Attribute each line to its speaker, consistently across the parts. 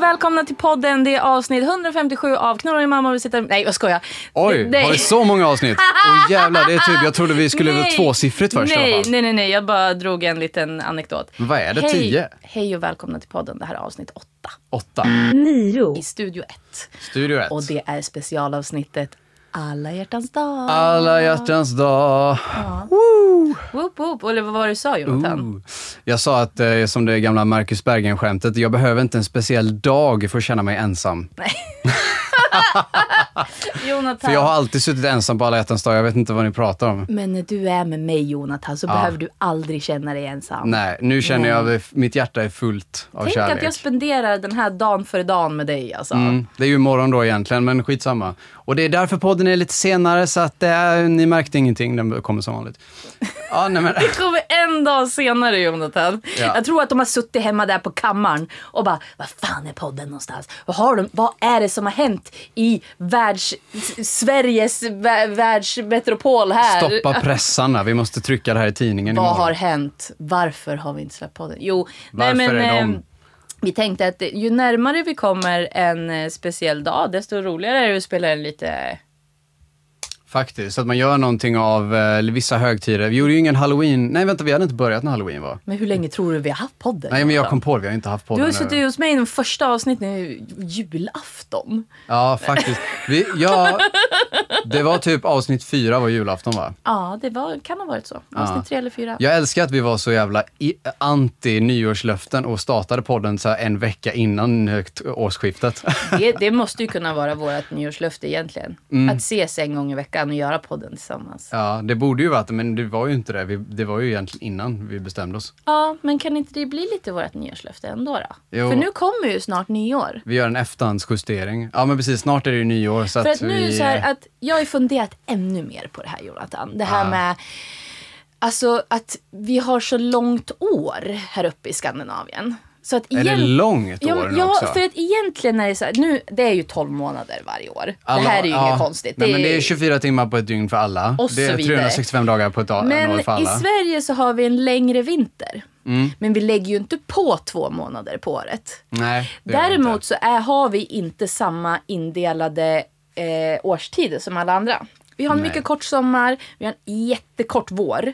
Speaker 1: välkomna till podden. Det är avsnitt 157 av Knorrar i mamma och vi sitter... Nej, jag skojar.
Speaker 2: Oj,
Speaker 1: Det-
Speaker 2: har det så många avsnitt? Åh jävlar, det är typ, jag trodde vi skulle vara
Speaker 1: Nej.
Speaker 2: tvåsiffrigt först i
Speaker 1: nej,
Speaker 2: alla fall.
Speaker 1: nej, nej, nej. Jag bara drog en liten anekdot.
Speaker 2: Men vad är det, tio?
Speaker 1: Hej och välkomna till podden. Det här är avsnitt 8
Speaker 2: Åtta.
Speaker 1: i Studio 1.
Speaker 2: Studio ett.
Speaker 1: Och det är specialavsnittet Alla hjärtans dag.
Speaker 2: Alla hjärtans dag.
Speaker 1: Woop, woop. Eller vad var det du sa, Jonathan?
Speaker 2: Ooh. Jag sa att, eh, som det gamla Marcus Berggren-skämtet, jag behöver inte en speciell dag för att känna mig ensam.
Speaker 1: Jonathan.
Speaker 2: För jag har alltid suttit ensam på alla hjärtans dag, jag vet inte vad ni pratar om.
Speaker 1: Men när du är med mig, Jonathan, så behöver du aldrig känna dig ensam.
Speaker 2: Ah. Nej, nu känner jag att mitt hjärta är fullt av
Speaker 1: Tänk
Speaker 2: kärlek.
Speaker 1: att jag spenderar den här dagen för dagen med dig alltså.
Speaker 2: Mm, det är ju imorgon då egentligen, men skitsamma. Och det är därför podden är lite senare, så att eh, ni märkte ingenting. Den kommer som vanligt. Ja, nej men...
Speaker 1: Det kommer en dag senare Jonathan.
Speaker 2: Ja.
Speaker 1: Jag tror att de har suttit hemma där på kammaren och bara, vad fan är podden någonstans? Vad, har de, vad är det som har hänt i världs, s- Sveriges vä- världsmetropol här?
Speaker 2: Stoppa pressarna, vi måste trycka det här i tidningen
Speaker 1: Vad
Speaker 2: imorgon.
Speaker 1: har hänt? Varför har vi inte släppt podden? Jo,
Speaker 2: Varför
Speaker 1: nej men...
Speaker 2: är de-
Speaker 1: eh, Vi tänkte att ju närmare vi kommer en eh, speciell dag, desto roligare är det att spela en lite...
Speaker 2: Faktiskt, så att man gör någonting av eh, vissa högtider. Vi gjorde ju ingen halloween, nej vänta vi hade inte börjat när halloween var.
Speaker 1: Men hur länge tror du vi har haft podden?
Speaker 2: Nej men jag
Speaker 1: Jonathan?
Speaker 2: kom på det, vi har inte haft
Speaker 1: Du
Speaker 2: podden
Speaker 1: har ju
Speaker 2: nu.
Speaker 1: suttit hos mig i de första avsnitten i julafton.
Speaker 2: Ja faktiskt. Vi, ja, det var typ avsnitt fyra var julafton va?
Speaker 1: Ja, det var, kan ha varit så. Avsnitt tre eller fyra.
Speaker 2: Jag älskar att vi var så jävla i, anti nyårslöften och startade podden så här en vecka innan högt årsskiftet.
Speaker 1: Det, det måste ju kunna vara vårt nyårslöfte egentligen.
Speaker 2: Mm.
Speaker 1: Att ses en gång i veckan och göra podden tillsammans. Ja.
Speaker 2: Ja, det borde ju varit det, men det var ju inte det. Vi, det var ju egentligen innan vi bestämde oss.
Speaker 1: men kan inte det bli lite vårt nyårslöfte ändå då?
Speaker 2: Jo.
Speaker 1: För nu kommer ju snart nyår.
Speaker 2: Vi gör en efterhandsjustering. Ja, men precis. Snart är det ju nyår. Så
Speaker 1: För
Speaker 2: att
Speaker 1: att nu är det
Speaker 2: vi,
Speaker 1: så här alltså, att jag har ju funderat ännu mer på det här Jonathan. Det här
Speaker 2: Ja.
Speaker 1: med Alltså att vi har så långt år här uppe i Skandinavien. Så att
Speaker 2: Är det
Speaker 1: egent-
Speaker 2: långt år
Speaker 1: men-
Speaker 2: nu
Speaker 1: ja,
Speaker 2: också?
Speaker 1: för att egentligen är det så här, nu, det är ju 12 månader varje år.
Speaker 2: alla-
Speaker 1: det här är ju
Speaker 2: ja.
Speaker 1: inget konstigt.
Speaker 2: Nej, men det är 24 timmar på ett dygn för alla.
Speaker 1: Och
Speaker 2: det
Speaker 1: så
Speaker 2: är
Speaker 1: vidare.
Speaker 2: 365 dagar på ett dag, en
Speaker 1: Men
Speaker 2: år för
Speaker 1: i
Speaker 2: alla. Mm.
Speaker 1: Sverige så har vi en längre vinter. Men vi lägger ju inte på två månader på året.
Speaker 2: Nej, det gör vi inte.
Speaker 1: Däremot så är, har vi inte samma indelade eh, årstider som alla andra. Vi har en
Speaker 2: Nej.
Speaker 1: mycket kort sommar, vi har en jättekort vår.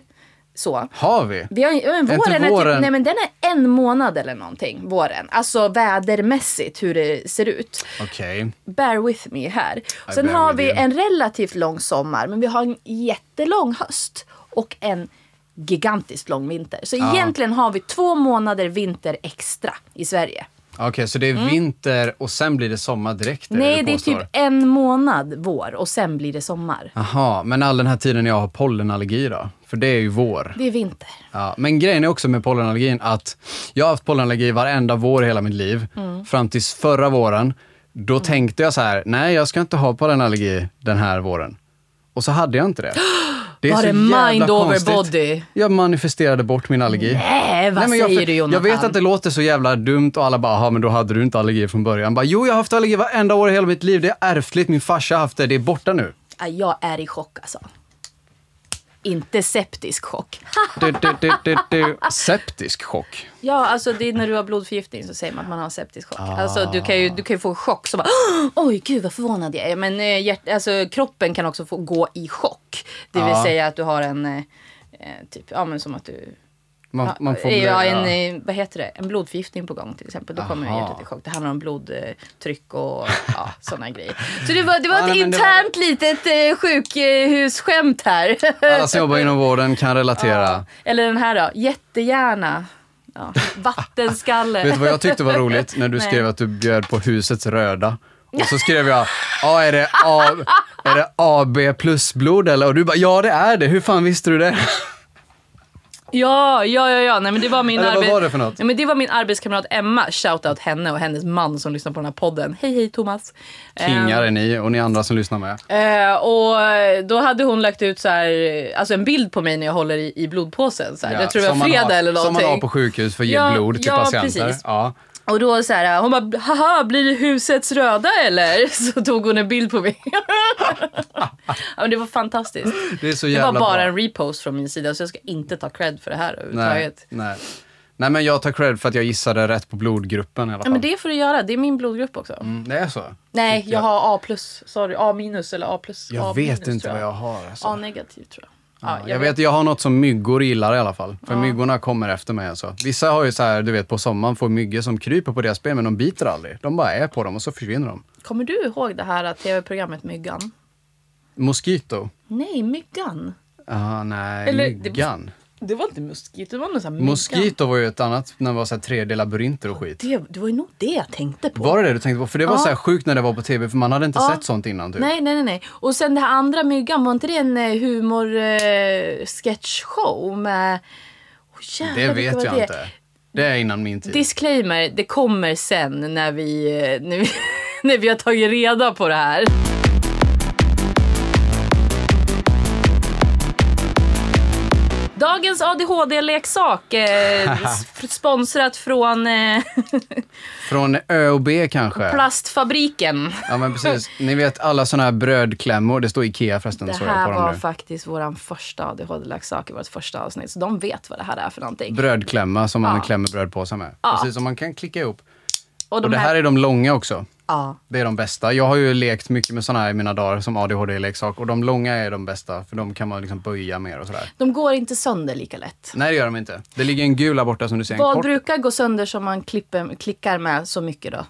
Speaker 1: Så.
Speaker 2: Har vi?
Speaker 1: Vi har, ja, men
Speaker 2: Är inte
Speaker 1: våren, Är
Speaker 2: våren-
Speaker 1: typ, nej, men den är en månad eller någonting, våren. Alltså vädermässigt hur det ser ut.
Speaker 2: Okej.
Speaker 1: Bear with me här. Sen
Speaker 2: bear
Speaker 1: har
Speaker 2: with
Speaker 1: vi
Speaker 2: you.
Speaker 1: en relativt lång sommar, men vi har en jättelång höst och en gigantiskt lång vinter. Så egentligen har vi två månader vinter extra i Sverige.
Speaker 2: Okej, så det är vinter och sen blir det sommar direkt? är
Speaker 1: Mm. Nej,
Speaker 2: du
Speaker 1: det är
Speaker 2: påstår?
Speaker 1: typ en månad vår och sen blir det sommar.
Speaker 2: Jaha, men all den här tiden jag har pollenallergi då? För det är ju vår.
Speaker 1: Det är vinter.
Speaker 2: Ja, men grejen är också med pollenallergin att jag har haft pollenallergi varenda vår i hela mitt liv.
Speaker 1: Mm.
Speaker 2: Fram tills förra våren. Då tänkte jag så här, nej jag ska inte ha pollenallergi den här våren. Och så hade jag inte det. det
Speaker 1: Var
Speaker 2: så
Speaker 1: det
Speaker 2: jävla
Speaker 1: mind over body?
Speaker 2: Jag manifesterade bort min allergi.
Speaker 1: Nej, Äh, vad
Speaker 2: jag,
Speaker 1: säger du
Speaker 2: Jag
Speaker 1: Jonathan?
Speaker 2: vet att det låter så jävla dumt och alla bara, "Aha, men då hade du inte allergi från början. Bara, jo, jag har haft allergi varenda år i hela mitt liv. Det är ärftligt, min farsa har haft det, det är borta nu.
Speaker 1: Ja, Jag är i chock alltså. Inte septisk chock.
Speaker 2: Du, du, du, du, du. Septisk chock.
Speaker 1: Ja, alltså det är när du har blodförgiftning så säger man att man har en septisk chock.
Speaker 2: Ah.
Speaker 1: Alltså du kan ju, du kan ju få en chock så bara oj gud vad förvånad jag är. Men eh, hjärt, alltså, kroppen kan också få gå i chock. Det vill
Speaker 2: Ja.
Speaker 1: säga att du har en eh, eh, typ, ja men som att du
Speaker 2: Man,
Speaker 1: Ja,
Speaker 2: man får bli-
Speaker 1: ja, en,
Speaker 2: ja.
Speaker 1: eh, vad heter det? En blodförgiftning på gång till exempel. Då kommer
Speaker 2: Aha.
Speaker 1: hjärtat i chock. Det handlar om blodtryck och ja, sådana grejer. Så det var, det var
Speaker 2: Ja,
Speaker 1: ett
Speaker 2: nej, men det var-
Speaker 1: internt litet eh, sjukhusskämt här.
Speaker 2: Alla som jobbar inom vården kan relatera.
Speaker 1: Eller den här då, jättegärna. Ja, vattenskalle.
Speaker 2: Vet du vad jag tyckte var roligt? När du
Speaker 1: Nej.
Speaker 2: skrev att du bjöd på husets röda. Och så skrev jag, ja är det, A, är det AB plusblod eller? Och du bara, ja det är det, hur fan visste du det?
Speaker 1: Ja, ja, ja, ja. Nej, men det var min
Speaker 2: Eller vad
Speaker 1: arbe-
Speaker 2: var det för något?
Speaker 1: Nej, men det var min arbetskamrat Emma. Shoutout henne och hennes man som lyssnar på den här podden. Hej, hej Thomas.
Speaker 2: Kingar är ni och ni andra som lyssnar med.
Speaker 1: Eh, och då hade hon lagt ut så här, alltså en bild på mig när jag håller i, i blodpåsen. Så här. jag tror det
Speaker 2: som
Speaker 1: var
Speaker 2: man
Speaker 1: fredag
Speaker 2: har,
Speaker 1: eller någonting.
Speaker 2: Som man har på sjukhus för att ge
Speaker 1: Ja,
Speaker 2: blod till
Speaker 1: ja,
Speaker 2: patienter.
Speaker 1: precis.
Speaker 2: Ja,
Speaker 1: Och då så här, hon bara haha blir det husets röda eller? Så tog hon en bild på mig. ja, men det var fantastiskt.
Speaker 2: Det är så
Speaker 1: Det var
Speaker 2: jävla
Speaker 1: bara
Speaker 2: bra.
Speaker 1: en repost från min sida så jag ska inte ta cred för det här
Speaker 2: Nej,
Speaker 1: överhuvudtaget.
Speaker 2: nej. Nej men jag tar cred för att jag gissade rätt på blodgruppen i alla
Speaker 1: Ja,
Speaker 2: fall.
Speaker 1: men det får du göra. Det är min blodgrupp också.
Speaker 2: Mm, det är så?
Speaker 1: Nej,
Speaker 2: Shit,
Speaker 1: jag har A plus. Sorry, A minus eller A plus.
Speaker 2: Jag
Speaker 1: A
Speaker 2: vet
Speaker 1: minus,
Speaker 2: inte
Speaker 1: tror
Speaker 2: vad jag har. Alltså.
Speaker 1: A negativ tror jag.
Speaker 2: Ja, jag, vet, jag har något som myggor gillar i alla fall. För
Speaker 1: Ja.
Speaker 2: myggorna kommer efter mig. Alltså. Vissa har ju så här, du vet, på sommaren får myggor som kryper på deras ben, men de biter aldrig. De bara är på dem och så försvinner de.
Speaker 1: Kommer du ihåg det här tv-programmet Myggan?
Speaker 2: Mosquito?
Speaker 1: Nej, Myggan.
Speaker 2: Ah, nej,
Speaker 1: Eller- det-
Speaker 2: myggan.
Speaker 1: Det var inte Mosquito, det var någon sån här Myggan.
Speaker 2: Mosquito var ju ett annat, när det var så här tredje labyrinter och skit.
Speaker 1: Det, det var ju nog det jag tänkte på.
Speaker 2: Var det det du tänkte på? För det var
Speaker 1: Typ. Ja.
Speaker 2: så här sjukt när det var på tv, för man hade inte
Speaker 1: Ja.
Speaker 2: sett sånt innan. Typ.
Speaker 1: Nej, nej, nej, nej. Och sen det här andra Myggan, var inte det en eh, humor eh, sketchshow med... Åh, jävlar,
Speaker 2: det
Speaker 1: vilka
Speaker 2: vet
Speaker 1: var
Speaker 2: jag
Speaker 1: det?
Speaker 2: inte. Det är innan min
Speaker 1: Typ.
Speaker 2: tid.
Speaker 1: Disclaimer, det kommer sen när vi, eh, när vi, när vi har tagit reda på det här. Dagens ADHD-leksak, eh, s- sponsrat från eh,
Speaker 2: Från Ö och B kanske?
Speaker 1: plastfabriken.
Speaker 2: Ja men precis. Ni vet alla såna här brödklämmor, det står Ikea förresten,
Speaker 1: Det
Speaker 2: såg jag
Speaker 1: här
Speaker 2: på dem
Speaker 1: var
Speaker 2: nu.
Speaker 1: faktiskt vår första ADHD-leksak i vårt första avsnitt, så de vet vad det här är för någonting.
Speaker 2: brödklämma som man
Speaker 1: Ja.
Speaker 2: klämmer brödpåsar med.
Speaker 1: Ja.
Speaker 2: Precis som man kan klicka ihop.
Speaker 1: Och
Speaker 2: Och
Speaker 1: de
Speaker 2: det här
Speaker 1: här...
Speaker 2: är de långa också.
Speaker 1: Ja.
Speaker 2: Det är de bästa. Jag har ju lekt mycket med såna här i mina dagar som ADHD-leksak och de långa är de bästa för de kan man liksom böja mer och sådär.
Speaker 1: De går inte sönder lika lätt.
Speaker 2: Nej det gör de inte. Det ligger en gul här borta som du ser, en
Speaker 1: Vad
Speaker 2: kort.
Speaker 1: brukar gå sönder som man klipper, klickar med så mycket då?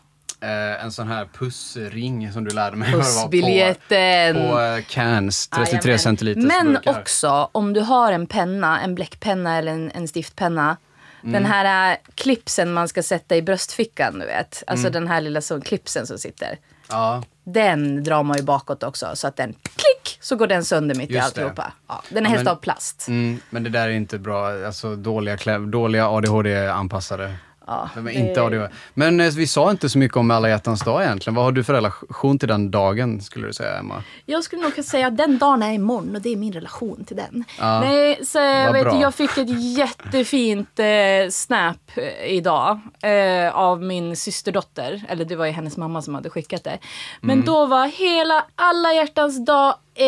Speaker 2: Eh, en sån här pussring som du lärde mig vad det var på-
Speaker 1: Bussbiljetten.
Speaker 2: På eh, cans, 33 centiliters
Speaker 1: Men
Speaker 2: burkar.
Speaker 1: också om du har en penna, en bläckpenna eller en, en stiftpenna.
Speaker 2: Mm.
Speaker 1: Den här äh, clipsen man ska sätta i bröstfickan, du vet. Alltså
Speaker 2: Mm.
Speaker 1: den här lilla så, clipsen som sitter.
Speaker 2: Ja,
Speaker 1: Den drar man ju bakåt också så att den klick så går den sönder mitt
Speaker 2: Just
Speaker 1: i
Speaker 2: det.
Speaker 1: alltihopa. Ja, den är
Speaker 2: Ja,
Speaker 1: helst
Speaker 2: men-
Speaker 1: av plast.
Speaker 2: Mm, men det där är inte bra. Alltså dåliga, klä- dåliga ADHD-anpassade.
Speaker 1: Ja,
Speaker 2: De är
Speaker 1: det-
Speaker 2: inte ADHD. Men eh, vi sa inte så mycket om alla hjärtans dag egentligen. Vad har du för relation till den dagen skulle du säga Emma?
Speaker 1: Jag skulle nog kunna säga att den dagen är imorgon och det är min relation till den.
Speaker 2: Ja,
Speaker 1: Nej, så jag,
Speaker 2: vad
Speaker 1: vet,
Speaker 2: bra.
Speaker 1: jag fick ett jättefint eh, snap eh, idag eh, av min systerdotter. Eller det var ju hennes mamma som hade skickat det. Men
Speaker 2: Mm.
Speaker 1: då var hela alla hjärtans dag, eh,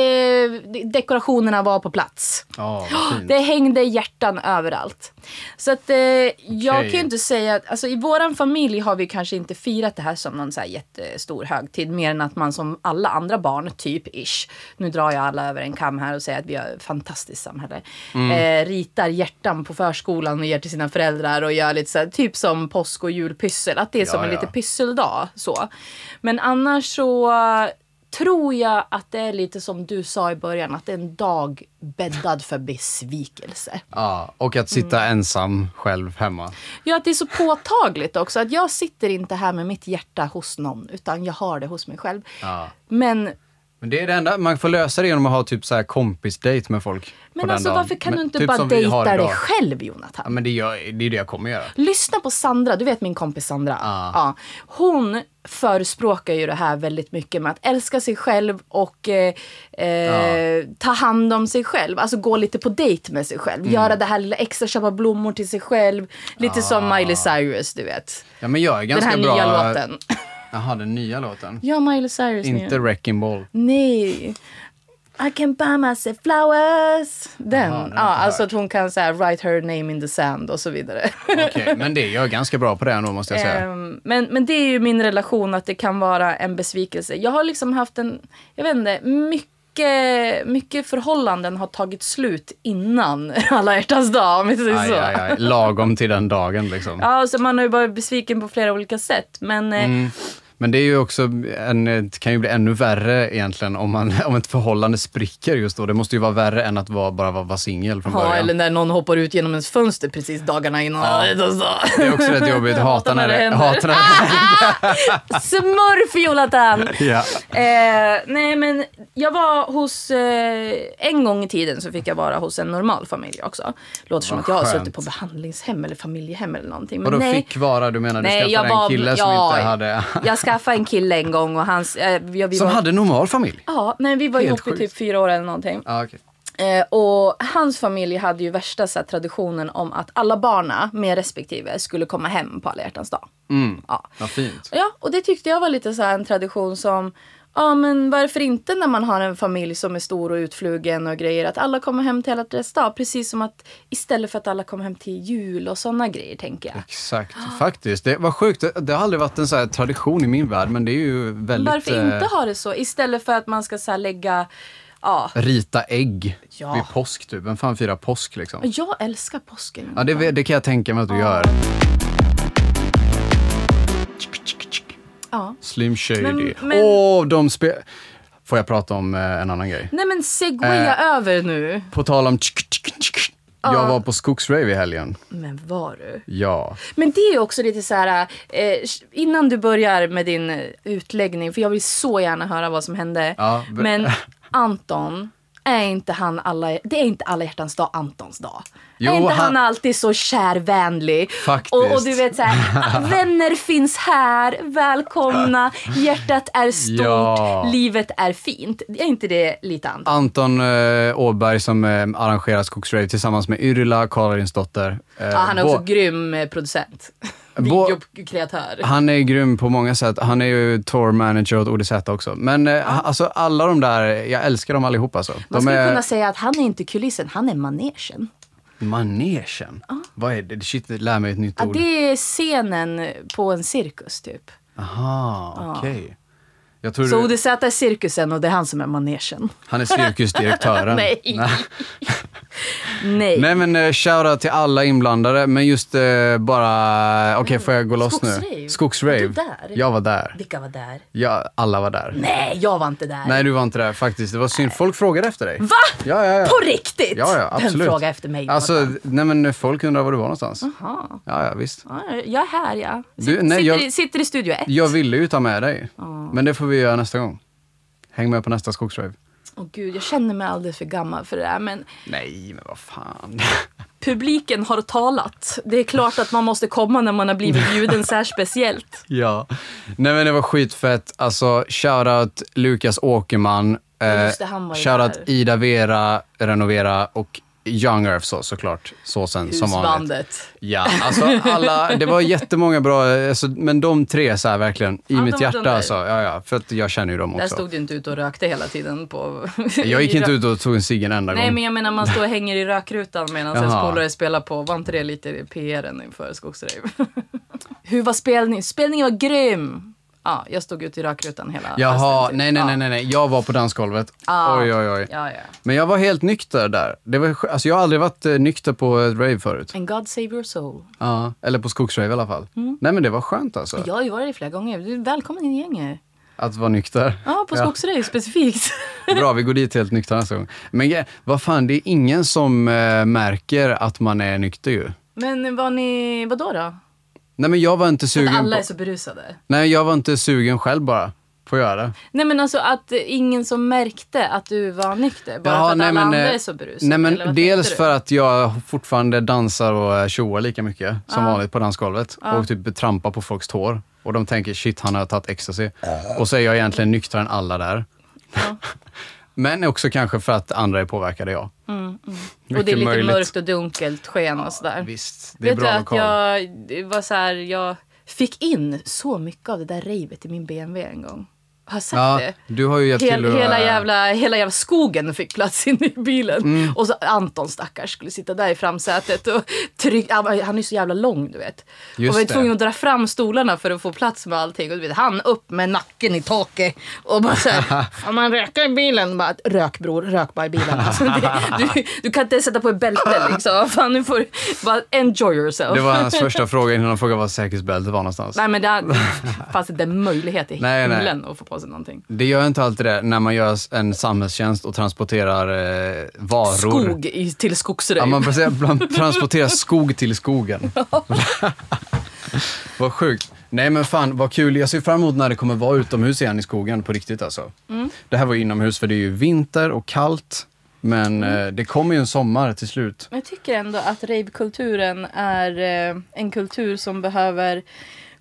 Speaker 1: de- dekorationerna var på plats.
Speaker 2: Ja, vad fint.
Speaker 1: Det hängde hjärtan överallt. Så att eh, jag kan
Speaker 2: Okej.
Speaker 1: ju inte säga, att- alltså i våran familj har vi kanske inte firat det här som någon så här jättestor högtid, mer än att man som alla andra barn, typ ish, nu drar jag alla över en kam här och säger att vi har ett fantastiskt samhälle,
Speaker 2: Mm.
Speaker 1: eh, ritar hjärtan på förskolan och ger till sina föräldrar och gör lite så här, typ som påsk och julpyssel, att det är
Speaker 2: Ja,
Speaker 1: som en
Speaker 2: ja.
Speaker 1: lite pysseldag så. Men annars så tror jag att det är lite som du sa i början, att det är en dag bäddad för besvikelse.
Speaker 2: Ja, och att sitta
Speaker 1: Mm.
Speaker 2: ensam själv hemma.
Speaker 1: Ja, att det är så påtagligt också. Att jag sitter inte här med mitt hjärta hos någon, utan jag har det hos mig själv.
Speaker 2: Ja.
Speaker 1: Men,
Speaker 2: Men det är det enda, man får lösa det genom att ha typ så här kompisdejt med folk. på
Speaker 1: men
Speaker 2: den
Speaker 1: alltså
Speaker 2: dagen.
Speaker 1: varför kan
Speaker 2: Men
Speaker 1: du inte
Speaker 2: typ
Speaker 1: bara
Speaker 2: som vi
Speaker 1: dejta
Speaker 2: har
Speaker 1: dig
Speaker 2: idag.
Speaker 1: själv,
Speaker 2: Ja,
Speaker 1: Jonathan?
Speaker 2: men det, gör, det är det jag kommer göra.
Speaker 1: Lyssna på Sandra, du vet min kompis Sandra.
Speaker 2: Ja.
Speaker 1: Ja. Hon förespråkar ju det här väldigt mycket med att älska sig själv och eh, eh, ta hand om sig själv. Alltså gå lite på dejt med sig själv.
Speaker 2: Mm.
Speaker 1: Göra det här lilla extra, köpa blommor till sig själv. Lite som Miley Cyrus, du vet.
Speaker 2: Ja, men jag är ganska
Speaker 1: den här
Speaker 2: bra...
Speaker 1: nya låten.
Speaker 2: Jaha, den nya låten.
Speaker 1: Ja, Miley Cyrus nya.
Speaker 2: Inte Wrecking Ball.
Speaker 1: Nej. I can buy myself flowers. Den.
Speaker 2: Jaha, den
Speaker 1: ja,
Speaker 2: har jag inte
Speaker 1: alltså
Speaker 2: hört.
Speaker 1: att hon kan säga write her name in the sand och så vidare.
Speaker 2: Okej, men det är jag ganska bra på det ändå måste jag säga.
Speaker 1: Ehm, men, men det är ju min relation att det kan vara en besvikelse. Jag har liksom haft en, jag vet inte, mycket, mycket förhållanden har tagit slut innan alla hjärtans dag om vi säger
Speaker 2: Aj,
Speaker 1: så.
Speaker 2: aj, aj. Lagom till den dagen liksom.
Speaker 1: Ja, så man har ju varit besviken på flera olika sätt. Men eh,
Speaker 2: Mm, Men det är ju också en, det kan ju bli ännu värre egentligen om, man, om ett förhållande spricker just då. Det måste ju vara värre än att vara, bara vara, vara singel från
Speaker 1: ja,
Speaker 2: början.
Speaker 1: eller när någon hoppar ut genom ens fönster precis dagarna innan alla hjärtans dag.
Speaker 2: Det är också rätt jobbigt. Hatar när det,
Speaker 1: händer. Ah!
Speaker 2: hatar när det
Speaker 1: Smurf Jonathan!
Speaker 2: ja.
Speaker 1: Eh, nej men jag var hos, eh, en gång i tiden så fick jag vara hos en normal familj också. Låter som
Speaker 2: Vad
Speaker 1: att jag har
Speaker 2: skönt.
Speaker 1: suttit på behandlingshem eller familjehem eller någonting. Men
Speaker 2: Och då
Speaker 1: nej.
Speaker 2: fick vara, du menar du
Speaker 1: nej, jag
Speaker 2: skaffade
Speaker 1: var,
Speaker 2: en kille som
Speaker 1: ja,
Speaker 2: inte hade...
Speaker 1: jag skaffade en kille en gång och hans, eh, jag, vi
Speaker 2: Som
Speaker 1: var,
Speaker 2: hade normal familj?
Speaker 1: ja, nej, vi var
Speaker 2: Helt
Speaker 1: ihop i
Speaker 2: sjukt.
Speaker 1: typ fyra år eller någonting.
Speaker 2: Ja, okej.
Speaker 1: Eh, och hans familj hade ju värsta så här, traditionen om att alla barna med respektive skulle komma hem på alla hjärtans dag.
Speaker 2: Mm.
Speaker 1: Ja.
Speaker 2: Vad fint.
Speaker 1: Ja, och det tyckte jag var lite så här en tradition som Ja men varför inte när man har en familj som är stor och utflugen och grejer att alla kommer hem till alla deras dag. Precis som att istället för att alla kommer hem till jul och sådana grejer tänker jag.
Speaker 2: Exakt, faktiskt. Det var sjukt. Det, det har aldrig varit en så här tradition i min värld, men det är ju väldigt...
Speaker 1: Varför inte
Speaker 2: eh,
Speaker 1: ha det så istället för att man ska så här lägga ja,
Speaker 2: eh, Rita ägg
Speaker 1: Ja.
Speaker 2: vid påsk, typ. Vem fan firar påsk, liksom?
Speaker 1: jag älskar påsken.
Speaker 2: Ja, det, det kan jag tänka mig att du gör.
Speaker 1: Ja.
Speaker 2: Slim Shady.
Speaker 1: Men- men-
Speaker 2: Åh, de spelar... Får jag prata om eh, en annan grej?
Speaker 1: Nej men segwaya över nu.
Speaker 2: På tal om... tsk, tsk, tsk. Jag var på skogsrave i helgen.
Speaker 1: Men var du?
Speaker 2: Ja.
Speaker 1: Men det är ju också lite så här, eh, innan du börjar med din eh, utläggning, för jag vill så gärna höra vad som hände.
Speaker 2: Ja, be-
Speaker 1: Men Anton, är inte han alla, det är inte alla hjärtans dag Antons dag.
Speaker 2: Jo,
Speaker 1: är inte han,
Speaker 2: han-
Speaker 1: alltid så kärvänlig?
Speaker 2: Faktiskt.
Speaker 1: Och, och du vet så här, vänner finns här, välkomna, hjärtat är stort,
Speaker 2: Ja.
Speaker 1: livet är fint. Är inte det lite Anton?
Speaker 2: Anton eh, Åberg som eh, arrangerar skogsrave tillsammans med Yrla, Karolinsdotter. Eh,
Speaker 1: Ja, han är också
Speaker 2: bå-
Speaker 1: grym eh, producent.
Speaker 2: Bo-
Speaker 1: Videokreatör.
Speaker 2: Han är grym på många sätt. Han är ju tour manager åt ODZ också. Men eh, ha- alltså alla de där, jag älskar dem allihop alltså.
Speaker 1: Man
Speaker 2: de
Speaker 1: skulle
Speaker 2: är
Speaker 1: kunna säga att han är inte kulissen, han är manegen.
Speaker 2: manegen. Vad är det? Shit, lär mig ett nytt
Speaker 1: Ja,
Speaker 2: ord.
Speaker 1: det är scenen på en cirkus typ.
Speaker 2: Aha, okej. Jag tror
Speaker 1: Så
Speaker 2: du,
Speaker 1: ODZ är cirkusen och det är han som är manegen.
Speaker 2: han är cirkusdirektören.
Speaker 1: Nej. Nej.
Speaker 2: Nej men eh, shoutout till alla inblandade, men just eh, bara, okej får jag gå loss nu?
Speaker 1: Mm. Skogsrave?
Speaker 2: Skogsrave.
Speaker 1: Var du där?
Speaker 2: Jag var där.
Speaker 1: Vilka var där?
Speaker 2: Jag, alla var där.
Speaker 1: Nej, jag var inte där.
Speaker 2: Nej, du var inte där faktiskt. Det var synd. Folk frågade efter dig.
Speaker 1: Va?
Speaker 2: Ja, ja, ja.
Speaker 1: På riktigt?
Speaker 2: Ja, ja, absolut.
Speaker 1: Vem frågar efter mig?
Speaker 2: Alltså,
Speaker 1: någonstans?
Speaker 2: nej men folk undrar var du var någonstans.
Speaker 1: Jaha.
Speaker 2: Ja, ja, visst.
Speaker 1: Ja, jag är här ja. Sitt,
Speaker 2: Du, nej,
Speaker 1: sitter,
Speaker 2: jag-
Speaker 1: i- sitter i studio 1.
Speaker 2: Jag ville ju ta med dig. Men det får vi göra nästa gång. Häng med på nästa skogsrave.
Speaker 1: Åh gud, jag känner mig alldeles för gammal för det där. Men
Speaker 2: Nej, men vad fan.
Speaker 1: publiken har talat. Det är klart att man måste komma när man har blivit bjuden så här speciellt.
Speaker 2: ja. Nej men det var skitfett. Alltså, shoutout Lukas Åkerman.
Speaker 1: Ja,
Speaker 2: Eh,
Speaker 1: just det, han var ju
Speaker 2: shoutout
Speaker 1: där.
Speaker 2: Ida Vera, Renovera och Young Earth så, såklart. Såsen som vanligt.
Speaker 1: Husbandet.
Speaker 2: Ja, alltså alla, det var jättemånga bra, alltså, men de tre så här verkligen, i
Speaker 1: de-
Speaker 2: mitt
Speaker 1: de
Speaker 2: hjärta
Speaker 1: där.
Speaker 2: alltså. Ja, ja, för att jag känner ju dem
Speaker 1: Där
Speaker 2: också.
Speaker 1: stod du inte ute och rökte hela tiden på...
Speaker 2: Jag gick inte ut och tog en cigg en enda
Speaker 1: Nej
Speaker 2: gång.
Speaker 1: men jag menar man står och hänger i rökrutan medan ens
Speaker 2: Jaha.
Speaker 1: polare spelar på. Var inte det lite PRn inför skogsrave? Hur var spelningen? Spelningen var grym! Ja, jag stod ute i rökrutan hela
Speaker 2: Jaha,
Speaker 1: festen, typ.
Speaker 2: nej, nej,
Speaker 1: Ja. Ah.
Speaker 2: nej, nej, nej, jag var på dansgolvet.
Speaker 1: Ja.
Speaker 2: Oj, oj, oj.
Speaker 1: Ja, ja.
Speaker 2: Men jag var helt nykter där. Det var, sk- alltså, jag har aldrig varit eh, nykter på ett rave förut.
Speaker 1: And God save your soul.
Speaker 2: Ja, eller på skogsrave i alla fall.
Speaker 1: Mm.
Speaker 2: Nej men det var skönt alltså,
Speaker 1: Jag har ju varit där flera gånger. Du är välkommen in i gänget.
Speaker 2: att vara nykter.
Speaker 1: Ja, på skogsrave specifikt.
Speaker 2: Bra, vi går dit helt nyktra nästa gång. Men gre- vad fan, det är ingen som eh, märker att man är nykter ju.
Speaker 1: Men var ni, vadå då?
Speaker 2: Nej men jag var inte sugen
Speaker 1: Att alla
Speaker 2: på...
Speaker 1: är så berusade?
Speaker 2: Nej, jag var inte sugen själv bara på att göra det.
Speaker 1: Nej men alltså att eh, ingen som märkte att du var nykter bara för att alla andra
Speaker 2: eh,
Speaker 1: är så berusade.
Speaker 2: Nej,
Speaker 1: eller
Speaker 2: men
Speaker 1: vad
Speaker 2: dels
Speaker 1: tänkte du?
Speaker 2: för att jag fortfarande dansar och eh, tjoar lika mycket som vanligt på dansgolvet och typ trampar på folks tår. Och de tänker shit, han har tagit ecstasy. Och så är jag egentligen nyktrare än alla där. men också kanske för att andra är påverkade, ja.
Speaker 1: Och det är
Speaker 2: Mycket
Speaker 1: lite
Speaker 2: möjligt.
Speaker 1: mörkt och dunkelt sken och sådär.
Speaker 2: Visst, det är
Speaker 1: Vet du
Speaker 2: bra
Speaker 1: att
Speaker 2: lokal.
Speaker 1: jag det var så här, jag fick in så mycket av det där ravet i min BMW en gång. Har jag sagt
Speaker 2: Ja,
Speaker 1: det?
Speaker 2: du har ju hjälpt
Speaker 1: Hel,
Speaker 2: till att,
Speaker 1: hela,
Speaker 2: eh,
Speaker 1: jävla, hela jävla skogen fick plats in i bilen.
Speaker 2: Mm.
Speaker 1: Och så Anton stackars skulle sitta där i framsätet och tryck, han var- han är så jävla lång du vet.
Speaker 2: Just
Speaker 1: och var ju
Speaker 2: det.
Speaker 1: tvungen att dra fram stolarna för att få plats med allting. Och du vet, han upp med nacken i taket och bara så här, om man röker i bilen, bara rök bror, rök bara i bilen. Alltså, det, du, du kan inte sätta på ett bälte liksom. Fan, nu får bara enjoy yourself.
Speaker 2: Det var hans första fråga innan han frågade var säkerhetsbältet var någonstans.
Speaker 1: Nej men det hade- fanns inte en möjlighet i
Speaker 2: Nej, nej.
Speaker 1: himlen att få på sig någonting.
Speaker 2: Det gör inte alltid det när man gör en samhällstjänst och transporterar eh, varor.
Speaker 1: Skog i, till skogsröj.
Speaker 2: Ja, man får säga, man transporterar skog till skogen. vad sjukt. Nej men fan vad kul. Jag ser fram emot när det kommer vara utomhus igen i skogen på riktigt alltså.
Speaker 1: Mm.
Speaker 2: Det här var ju inomhus för det är ju vinter och kallt. Men
Speaker 1: Mm.
Speaker 2: eh, det kommer ju en sommar till slut.
Speaker 1: Men jag tycker ändå att ravekulturen är eh, en kultur som behöver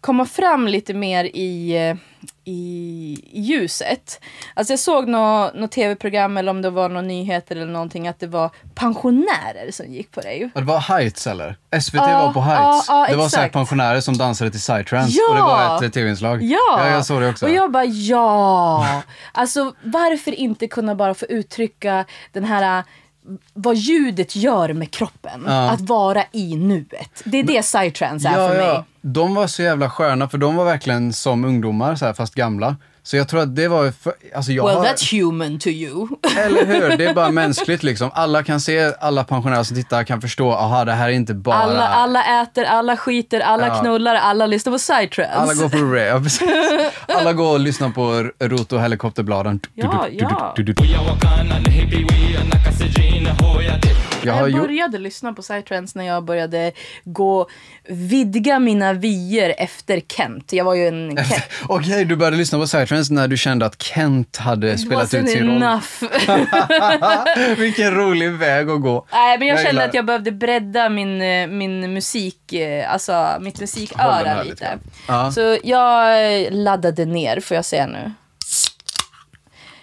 Speaker 1: komma fram lite mer i, eh, i i ljuset. Alltså jag såg något nå tv-program eller om det var några nyheter eller någonting att det var pensionärer som gick på rave.
Speaker 2: Ja, Det var Heights eller? SVT
Speaker 1: Ja,
Speaker 2: var på Heights.
Speaker 1: ja, ja,
Speaker 2: det var så här
Speaker 1: exakt.
Speaker 2: pensionärer som dansade till psytrance
Speaker 1: Ja!
Speaker 2: och det var ett eh, tv-inslag.
Speaker 1: Ja!
Speaker 2: ja, jag såg det också.
Speaker 1: Och jag bara ja! Alltså varför inte kunna bara få uttrycka den här eh, vad ljudet gör med kroppen.
Speaker 2: Ja.
Speaker 1: Att vara i nuet. Det är det psytrance är för mig.
Speaker 2: De var så jävla sköna för de var verkligen som ungdomar så här, fast gamla. Så jag tror att det var... För, alltså jag
Speaker 1: Well
Speaker 2: har,
Speaker 1: that's human to you.
Speaker 2: Eller hur? Det är bara mänskligt liksom. Alla kan se, alla pensionärer som tittar kan förstå, aha det här är inte bara...
Speaker 1: Alla, alla äter, alla skiter, alla
Speaker 2: Ja.
Speaker 1: knullar, alla lyssnar på psytrance.
Speaker 2: Alla går på rave. Ja, precis. Alla går och lyssnar på R- Roto helikopterbladen.
Speaker 1: Ja, ja.
Speaker 2: Jag har
Speaker 1: Jag
Speaker 2: gjort...
Speaker 1: började lyssna på psytrance när jag började gå, vidga mina vyer efter Kent. Jag var ju en Kent.
Speaker 2: Okej, du började lyssna på Psytrance när du kände att Kent hade spelat ut
Speaker 1: Wasn't
Speaker 2: sin roll. Ah,
Speaker 1: enough.
Speaker 2: Vilken rolig väg att gå.
Speaker 1: Nej, men jag,
Speaker 2: Jag
Speaker 1: kände
Speaker 2: gillar-
Speaker 1: att jag behövde bredda min, eh, min musik, eh, alltså mitt
Speaker 2: Håll den
Speaker 1: musiköra
Speaker 2: här
Speaker 1: lite.
Speaker 2: lite grann. Ja.
Speaker 1: Så jag eh, laddade ner, får jag säga nu.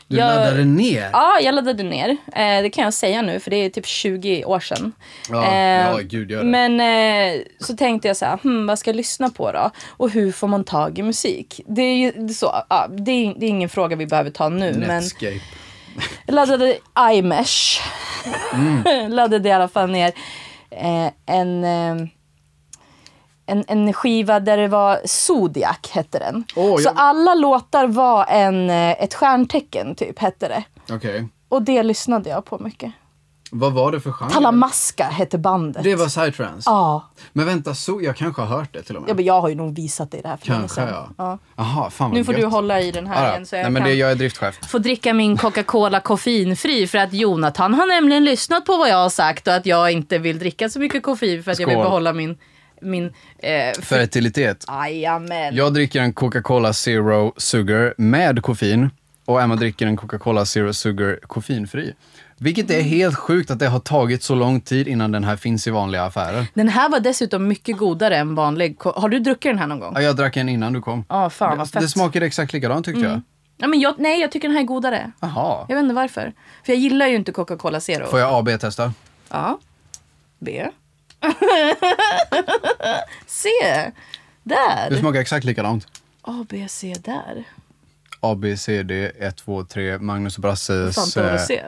Speaker 2: Du
Speaker 1: jag-
Speaker 2: laddade ner.
Speaker 1: Ja, jag laddade ner. Eh, det kan jag säga nu, för det är typ 20 år sedan.
Speaker 2: Ja, ja, gud, gör det.
Speaker 1: Men eh, så tänkte jag så här, hmm, vad ska jag lyssna på då? Och hur får man tag i musik? Det är ju så, ja, det, är, det är ingen fråga vi behöver ta nu. Men
Speaker 2: Netscape.
Speaker 1: jag laddade iMesh.
Speaker 2: Mm.
Speaker 1: laddade i alla fall ner eh, en, eh, en, en skiva där det var Zodiac hette den.
Speaker 2: Åh,
Speaker 1: så
Speaker 2: jag-
Speaker 1: alla låtar var en, eh, ett stjärntecken typ hette det.
Speaker 2: Okej.
Speaker 1: Och det lyssnade jag på mycket.
Speaker 2: Vad var det för genre?
Speaker 1: Talamaska hette bandet.
Speaker 2: Det var Psytrance?
Speaker 1: Ja.
Speaker 2: Men vänta, så, jag kanske har hört det till och med.
Speaker 1: ja men jag har ju nog visat dig det här för länge
Speaker 2: Kanske
Speaker 1: sedan.
Speaker 2: ja. Aha, fan vad
Speaker 1: Nu får
Speaker 2: gött.
Speaker 1: du hålla i den här
Speaker 2: Ah, Ja,
Speaker 1: igen så jag
Speaker 2: Nej, men
Speaker 1: kan
Speaker 2: det, jag är driftchef.
Speaker 1: få dricka min Coca-Cola koffeinfri för att Jonathan har nämligen lyssnat på vad jag har sagt och att jag inte vill dricka så mycket koffein för att jag vill
Speaker 2: Skål.
Speaker 1: behålla min... min eh, fri-
Speaker 2: Fertilitet.
Speaker 1: Jajamän.
Speaker 2: Jag dricker en Coca-Cola Zero Sugar med koffein och Emma dricker en Coca-Cola Zero Sugar koffeinfri. Vilket
Speaker 1: Mm.
Speaker 2: är helt sjukt att det har tagit så lång tid innan den här finns i vanliga affärer.
Speaker 1: Den här var dessutom mycket godare än vanlig. ko- Har du druckit den här någon gång?
Speaker 2: Ja, jag drack en innan du kom.
Speaker 1: Ja, fan vad
Speaker 2: det
Speaker 1: fett. Mm.
Speaker 2: smakade exakt likadant tyckte jag.
Speaker 1: Ja, men jag, nej, jag tycker den här är godare.
Speaker 2: Jaha.
Speaker 1: Jag vet inte varför. För jag gillar ju inte Coca-Cola Zero.
Speaker 2: Får jag AB-testa?
Speaker 1: Ja. B. C.
Speaker 2: Det
Speaker 1: Där.
Speaker 2: smakar exakt likadant.
Speaker 1: A, B, C där.
Speaker 2: A, B, C, D, 1, 2, 3, Magnus och Brasses...
Speaker 1: Fanta och
Speaker 2: eh,
Speaker 1: Rosé.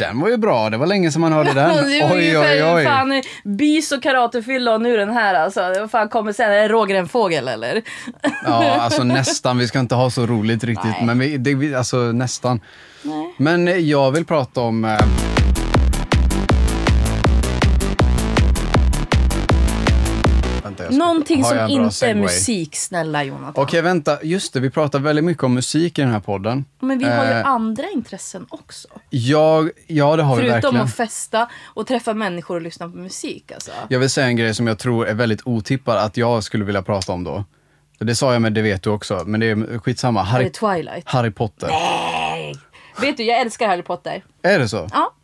Speaker 2: Den var ju bra, det var länge sedan man hörde den.
Speaker 1: Det är
Speaker 2: Oj, oj,
Speaker 1: ungefär
Speaker 2: oj.
Speaker 1: fan bis och karatefylla och nu den här alltså. Vad fan kommer sen? Är det Roger en fågel eller?
Speaker 2: Ja, alltså nästan. Vi ska inte ha så roligt riktigt,
Speaker 1: Nej.
Speaker 2: men vi, det, vi, alltså nästan.
Speaker 1: Nej.
Speaker 2: Men eh, jag vill prata om... eh, Vänta, jag ska-
Speaker 1: Någonting
Speaker 2: har
Speaker 1: som
Speaker 2: jag en bra
Speaker 1: inte är
Speaker 2: segway?
Speaker 1: musik, snälla Jonathan.
Speaker 2: Okej, vänta. Just det, vi pratar väldigt mycket om musik i den här podden.
Speaker 1: Men vi har ju
Speaker 2: Eh,
Speaker 1: andra intressen också.
Speaker 2: jag, ja, det har vi
Speaker 1: Förutom
Speaker 2: verkligen.
Speaker 1: att festa och träffa människor och lyssna på musik alltså.
Speaker 2: Jag vill säga en grej som jag tror är väldigt otippad att jag skulle vilja prata om då. Det sa jag, men det vet du också. Men det är skitsamma.
Speaker 1: Är
Speaker 2: Harry,
Speaker 1: det Twilight?
Speaker 2: Harry Potter.
Speaker 1: Vet du, jag älskar Harry Potter.
Speaker 2: Är det så?
Speaker 1: Ja.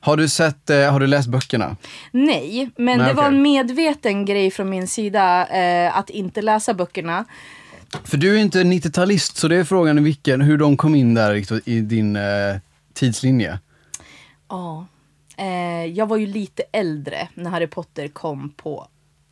Speaker 2: Har du, sett, eh, har du läst böckerna?
Speaker 1: Nej, men
Speaker 2: Nej,
Speaker 1: det var
Speaker 2: okej.
Speaker 1: en medveten grej från min sida eh, att inte läsa böckerna.
Speaker 2: För du är inte 90-talist, så det är frågan vilken, hur de kom in där Victor, i din eh, tidslinje.
Speaker 1: Ja. Eh, jag var ju lite äldre när Harry Potter kom på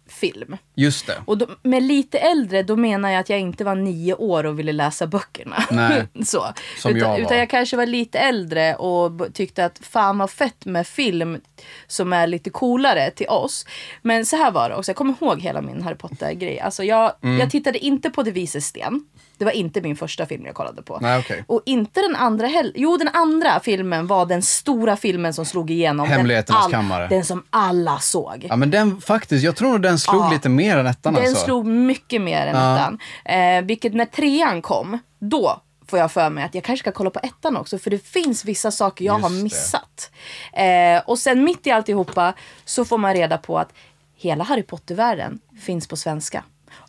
Speaker 1: film.
Speaker 2: Just det.
Speaker 1: Och då, med lite äldre, då menar jag att jag inte var nio år och ville läsa böckerna.
Speaker 2: Nej.
Speaker 1: Så.
Speaker 2: Som
Speaker 1: utan,
Speaker 2: jag var.
Speaker 1: utan jag kanske var lite äldre och b- tyckte att fan vad fett med film som är lite coolare till oss. Men så här var det också, jag kommer ihåg hela min Harry Potter-grej. Alltså jag,
Speaker 2: Mm.
Speaker 1: jag tittade inte på De vises sten. Det var inte min första film jag kollade på.
Speaker 2: Nej, okej.
Speaker 1: Och inte den andra heller. Jo, den andra filmen var den stora filmen som slog igenom. Den
Speaker 2: Hemligheternas kammare.
Speaker 1: Den som alla såg.
Speaker 2: Ja men den faktiskt, jag tror nog den slog
Speaker 1: Ja.
Speaker 2: lite mer än ettan
Speaker 1: Den
Speaker 2: alltså.
Speaker 1: slog mycket mer än
Speaker 2: Ja.
Speaker 1: ettan. Eh, vilket när trean kom, då får jag för mig att jag kanske ska kolla på ettan också. För det finns vissa saker jag
Speaker 2: Just
Speaker 1: har
Speaker 2: det.
Speaker 1: missat. Eh, och sen mitt i alltihopa så får man reda på att hela Harry Potter-världen finns på svenska.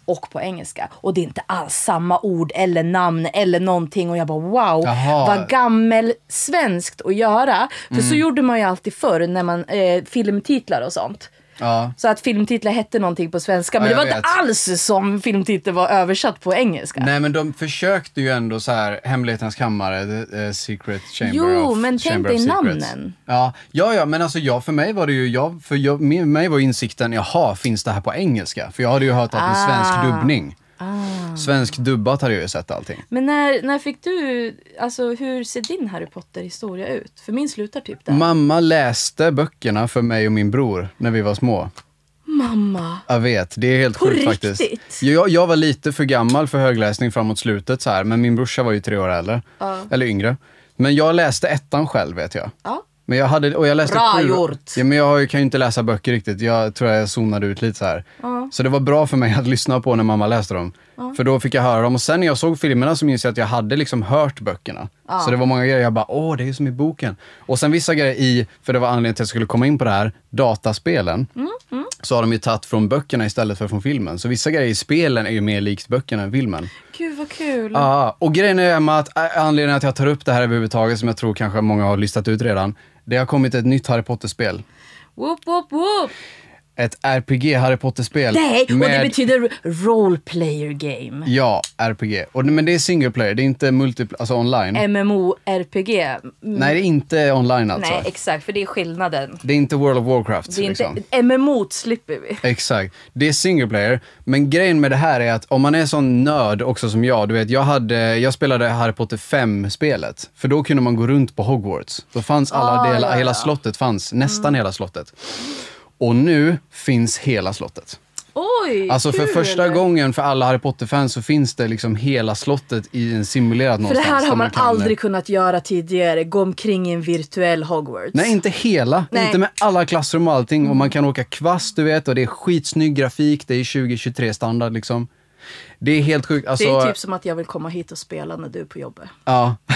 Speaker 1: Och på engelska. Och det är inte alls samma ord eller namn eller någonting. Och jag bara wow,
Speaker 2: Jaha. Mm.
Speaker 1: vad gammelsvenskt att göra. För så gjorde man ju alltid förr när man eh, filmtitlar och sånt.
Speaker 2: Ja.
Speaker 1: Så att filmtitlar hette någonting på svenska, men
Speaker 2: Ja,
Speaker 1: det var
Speaker 2: jag
Speaker 1: inte alls som filmtiteln var översatt på engelska.
Speaker 2: Nej men de försökte ju ändå så här, Hemlighetens kammare, the, eh, Secret Chamber
Speaker 1: Jo,
Speaker 2: of,
Speaker 1: men tänk
Speaker 2: chamber
Speaker 1: dig
Speaker 2: of Secrets.
Speaker 1: namnen.
Speaker 2: Ja, ja, ja, men alltså jag, för mig var det ju, jag, för jag, med mig var insikten, jaha, finns det här på engelska? För jag hade ju hört att det är
Speaker 1: Ah.
Speaker 2: svensk dubbning. Svensk dubbat hade jag ju sett allting.
Speaker 1: Men när, när fick du, alltså hur ser din Harry Potter-historia ut? För min slutar typ där.
Speaker 2: Mamma läste böckerna för mig och min bror när vi var små.
Speaker 1: Mamma!
Speaker 2: Jag vet, det är helt
Speaker 1: På
Speaker 2: sjukt faktiskt.
Speaker 1: riktigt?
Speaker 2: Jag, jag var lite för gammal för högläsning framåt slutet så här, men min brorsa var ju tre år äldre.
Speaker 1: Ja.
Speaker 2: Eller yngre. Men jag läste ettan själv vet jag.
Speaker 1: Ja.
Speaker 2: Men jag hade, och jag läste
Speaker 1: Bra
Speaker 2: sju-
Speaker 1: gjort.
Speaker 2: Ja, men jag har ju- kan ju inte läsa böcker riktigt. Jag tror jag zonade ut lite så här.
Speaker 1: Ja.
Speaker 2: Så det var bra för mig att lyssna på när mamma läste dem. För då fick jag höra dem. Och sen när jag såg filmerna så minns jag att jag hade liksom hört böckerna. Så det var många grejer jag bara, åh, det är ju som i boken. Och sen vissa grejer i, för det var anledningen till att jag skulle komma in på det här, dataspelen.
Speaker 1: Mm,
Speaker 2: Så har de ju tagit från böckerna istället för från filmen. Så vissa grejer i spelen är ju mer likt böckerna än filmen.
Speaker 1: Gud vad kul!
Speaker 2: Ja, och grejen är Emma att ä, anledningen att jag tar upp det här överhuvudtaget, som jag tror kanske många har listat ut redan, det har kommit ett nytt Harry Potter-spel.
Speaker 1: Whoop, whoop, whoop!
Speaker 2: Ett RPG Harry Potter-spel.
Speaker 1: Nej, och det
Speaker 2: med-
Speaker 1: betyder role player game.
Speaker 2: Ja, RPG. Och, men det är single player, det är inte multi, alltså online.
Speaker 1: MMORPG. Mm,
Speaker 2: Nej, det är inte online alltså.
Speaker 1: Nej, exakt, för det är skillnaden.
Speaker 2: det är inte World of Warcraft.
Speaker 1: Det är
Speaker 2: liksom.
Speaker 1: inte, MMO slipper vi.
Speaker 2: Exakt. Det är single player. Men grejen med det här är att om man är sån nörd också som jag, du vet, jag, hade, jag spelade Harry Potter 5-spelet. För då kunde man gå runt på Hogwarts. Då fanns alla
Speaker 1: Ah,
Speaker 2: delar,
Speaker 1: ja,
Speaker 2: hela
Speaker 1: ja. Mm.
Speaker 2: slottet fanns, nästan hela slottet. Och nu finns hela slottet.
Speaker 1: Oj,
Speaker 2: Alltså för
Speaker 1: kul.
Speaker 2: första gången för alla Harry Potter-fans så finns det liksom hela slottet i en simulerad
Speaker 1: För det
Speaker 2: någonstans.
Speaker 1: här
Speaker 2: där
Speaker 1: har man
Speaker 2: kan- eh,
Speaker 1: aldrig kunnat göra tidigare, gå omkring i en virtuell Hogwarts.
Speaker 2: Nej, inte hela.
Speaker 1: Nej.
Speaker 2: Inte med alla klassrum och allting. Och man kan åka kvast, du vet. Och det är skitsnygg grafik. Det är 2023-standard liksom. Det är helt sjukt. Alltså,
Speaker 1: det är typ som att jag vill komma hit och spela när du är på jobbet.
Speaker 2: ja.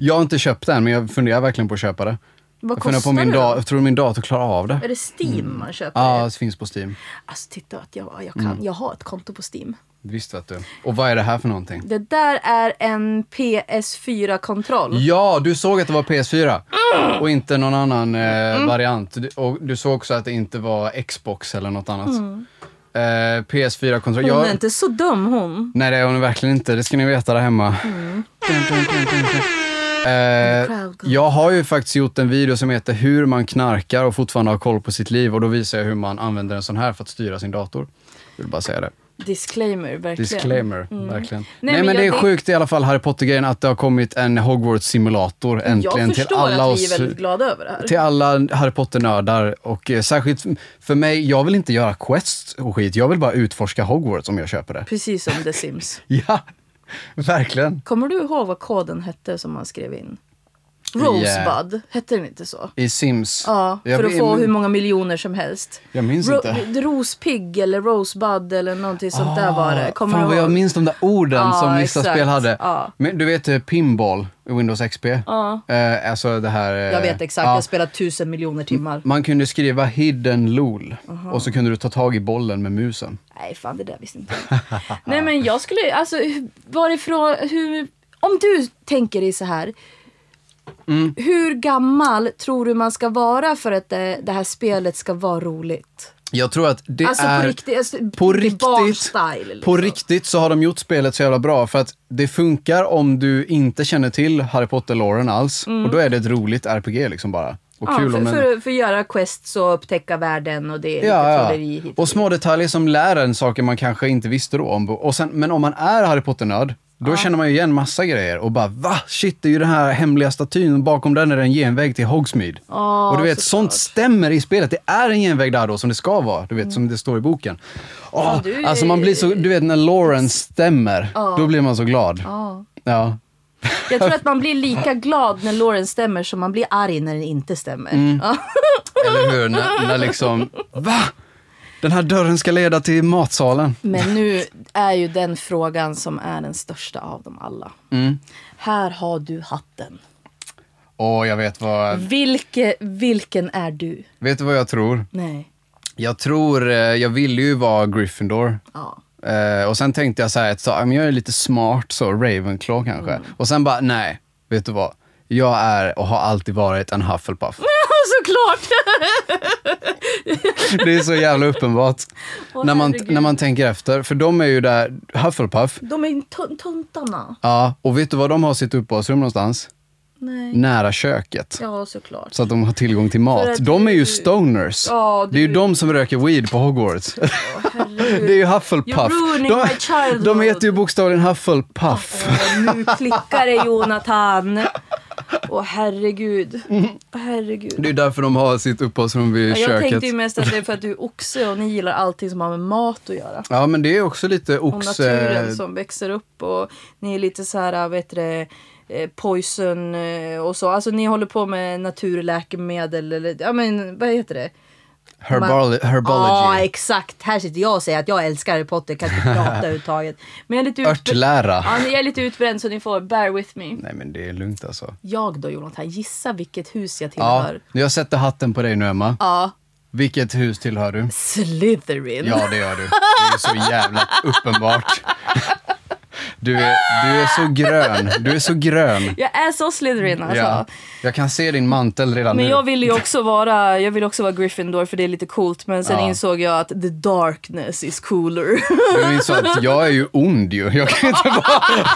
Speaker 2: Jag har inte köpt den, men jag funderar verkligen på att köpa det.
Speaker 1: Vad
Speaker 2: jag funderar på
Speaker 1: kostar
Speaker 2: min
Speaker 1: det då?
Speaker 2: da- Jag tror min dator klarar av det.
Speaker 1: Är det Steam man köper?
Speaker 2: Mm. Ja, Mm. det finns på Steam.
Speaker 1: Alltså titta att jag, jag kan, jag har ett konto på Steam.
Speaker 2: Visst vet du. Och vad är det här för någonting?
Speaker 1: Det där är en PS4-kontroll.
Speaker 2: Ja, du såg att det var PS4 och inte någon annan eh,
Speaker 1: Mm.
Speaker 2: variant. Du, och du såg också att det inte var Xbox eller något annat.
Speaker 1: Mm.
Speaker 2: Eh, PS4-kontroll.
Speaker 1: Hon
Speaker 2: Jag-
Speaker 1: är inte så dum hon.
Speaker 2: Nej det är hon verkligen inte, det ska ni veta där hemma. Dun, dun, dun, dun, dun. Eh,
Speaker 1: Mm. crowd goes.
Speaker 2: jag har ju faktiskt gjort en video som heter hur man knarkar och fortfarande har koll på sitt liv och då visar jag hur man använder en sån här för att styra sin dator. Jag vill bara säga det.
Speaker 1: Disclaimer, verkligen.
Speaker 2: Disclaimer, verkligen. Nej,
Speaker 1: Mm. men
Speaker 2: men,
Speaker 1: jag-
Speaker 2: det är
Speaker 1: det-
Speaker 2: sjukt i alla fall Harry Potter-grejen att det har kommit en Hogwarts-simulator äntligen
Speaker 1: jag
Speaker 2: till
Speaker 1: förstår
Speaker 2: alla
Speaker 1: att vi är
Speaker 2: oss.
Speaker 1: väldigt glada över det här.
Speaker 2: Till alla Harry Potter-nördar och eh, särskilt för mig, jag vill inte göra quests och skit. Jag vill bara utforska Hogwarts om jag köper det.
Speaker 1: Precis som The Sims.
Speaker 2: Ja, verkligen.
Speaker 1: Kommer du ihåg vad koden hette som man skrev in? Rosebud, hette den inte så?
Speaker 2: I Sims.
Speaker 1: Ja,
Speaker 2: Jag
Speaker 1: för att
Speaker 2: min-
Speaker 1: få hur många miljoner som helst.
Speaker 2: Jag minns
Speaker 1: Ro-
Speaker 2: inte.
Speaker 1: Rospigg eller Rosebud eller någonting sånt där var det. Kommer
Speaker 2: Ah, Fan
Speaker 1: du
Speaker 2: vad
Speaker 1: ihåg?
Speaker 2: jag minns de där orden
Speaker 1: Ja,
Speaker 2: som vissa
Speaker 1: exakt.
Speaker 2: spel hade.
Speaker 1: Ja.
Speaker 2: Men du vet eh, pinball i Windows XP? Eh, alltså det här... eh,
Speaker 1: Jag vet exakt,
Speaker 2: ja. Mm.
Speaker 1: jag spelat tusen miljoner timmar.
Speaker 2: Man kunde skriva hidden lol och så kunde du ta tag i bollen med musen.
Speaker 1: Nej, fan det där visste inte jag. Nej men jag skulle, alltså hur- varifrån, hur, om du tänker dig så här.
Speaker 2: Mm.
Speaker 1: Hur gammal tror du man ska vara för att det, det här spelet ska vara roligt?
Speaker 2: Jag tror att det
Speaker 1: Alltså
Speaker 2: är...
Speaker 1: på riktigt, alltså,
Speaker 2: På
Speaker 1: riktigt
Speaker 2: riktigt,
Speaker 1: barnstyle, liksom.
Speaker 2: på riktigt så har de gjort spelet så jävla bra för att det funkar om du inte känner till Harry Potter-loren alls. Och då är det ett roligt RPG liksom bara. Och
Speaker 1: Mm. Ja,
Speaker 2: kul
Speaker 1: för,
Speaker 2: om den...
Speaker 1: för, för att göra quests och upptäcka världen och det är lite
Speaker 2: Ja,
Speaker 1: trolleri
Speaker 2: ja.
Speaker 1: hit
Speaker 2: Och små detaljer som lär en saker man kanske inte visste då om. Och sen, men om man är Harry Potter-nörd, då känner man ju igen massa grejer och bara va? Shit, det är ju den här hemliga statyn och bakom den är det en genväg till Hogsmeade.
Speaker 1: Ja,
Speaker 2: och du vet, sånt stämmer i spelet. Det är en genväg där då som det ska vara, du vet, som det står i boken. Åh,
Speaker 1: du-
Speaker 2: Alltså man blir så, du vet när Lawrence stämmer, då blir man så glad.
Speaker 1: Ja.
Speaker 2: Ja.
Speaker 1: Jag tror att man blir lika glad när Lauren stämmer som man blir arg när den inte stämmer.
Speaker 2: Mm.
Speaker 1: Ja.
Speaker 2: Eller hur? När, när liksom, va? Den här dörren ska leda till matsalen.
Speaker 1: Men nu är ju den frågan som är den största av dem alla.
Speaker 2: Mm.
Speaker 1: Här har du hatten.
Speaker 2: Åh, jag vet vad,
Speaker 1: Vilke, vilken är du?
Speaker 2: vet du vad jag tror?
Speaker 1: Nej.
Speaker 2: Jag tror, eh, jag ville ju vara Gryffindor.
Speaker 1: Ja.
Speaker 2: Eh, och sen tänkte jag så här, ett tag, "Ja, men jag är lite smart så, Ravenclaw
Speaker 1: Mm.
Speaker 2: kanske. Och sen bara, nej, vet du vad? Jag är och har alltid varit en Hufflepuff.
Speaker 1: såklart!
Speaker 2: Det är så jävla uppenbart.
Speaker 1: Åh,
Speaker 2: när, man,
Speaker 1: herregud.
Speaker 2: när man tänker efter. För de är ju där, Hufflepuff.
Speaker 1: De är tun- tuntarna.
Speaker 2: Ja, och vet du var de har sitt uppehållsrum någonstans?
Speaker 1: Nej.
Speaker 2: Nära köket.
Speaker 1: Ja, såklart.
Speaker 2: Mm. Så att de har tillgång till mat.
Speaker 1: att
Speaker 2: De är ju
Speaker 1: du-
Speaker 2: stoners.
Speaker 1: Ja,
Speaker 2: Det är ju
Speaker 1: du-
Speaker 2: de som röker weed på Hogwarts. Det är ju Hufflepuff.
Speaker 1: You're ruining
Speaker 2: de,
Speaker 1: my childhood.
Speaker 2: de heter ju bokstavligen Hufflepuff.
Speaker 1: Åh, nu klickar det Jonathan. Åh herregud. Åh herregud.
Speaker 2: Mm. Det är därför de har sitt uppehållsrum vid
Speaker 1: Ja, jag
Speaker 2: köket.
Speaker 1: tänkte ju mest att det är för att du är oxe och ni gillar allting som har med mat att göra.
Speaker 2: Ja, men det är också lite eh,
Speaker 1: Och
Speaker 2: oxe...
Speaker 1: naturen som växer upp och ni är lite så här, vet du det, eh, poison eh, och så. Alltså ni håller på med naturläkemedel eller, ja men vad heter det?
Speaker 2: Herbali-
Speaker 1: Ja,
Speaker 2: herbology.
Speaker 1: exakt. Här sitter jag och säger att jag älskar Harry Potter, kan inte prata överhuvudtaget. Men jag är lite utbränd.
Speaker 2: Örtlära.
Speaker 1: Ja, jag är lite utbränd så ni får bear with me.
Speaker 2: Nej, men det är lugnt alltså.
Speaker 1: Jag då Jonathan, gissa vilket hus jag
Speaker 2: Ja,
Speaker 1: tillhör.
Speaker 2: jag sätter hatten på dig nu, Emma.
Speaker 1: Ja.
Speaker 2: Vilket hus tillhör du?
Speaker 1: Slytherin.
Speaker 2: Ja, det gör du. Det är så jävla uppenbart. Du är, du är så grön. Du är så grön.
Speaker 1: Jag är så Slytherin alltså.
Speaker 2: Ja. Jag kan se din mantel redan
Speaker 1: Men
Speaker 2: nu.
Speaker 1: jag ville ju också vara, jag ville också vara Gryffindor för det är lite coolt men sen
Speaker 2: Ja.
Speaker 1: insåg jag att the darkness is cooler.
Speaker 2: Du insåg att jag är ju ond ju. Jag kan ju inte vara...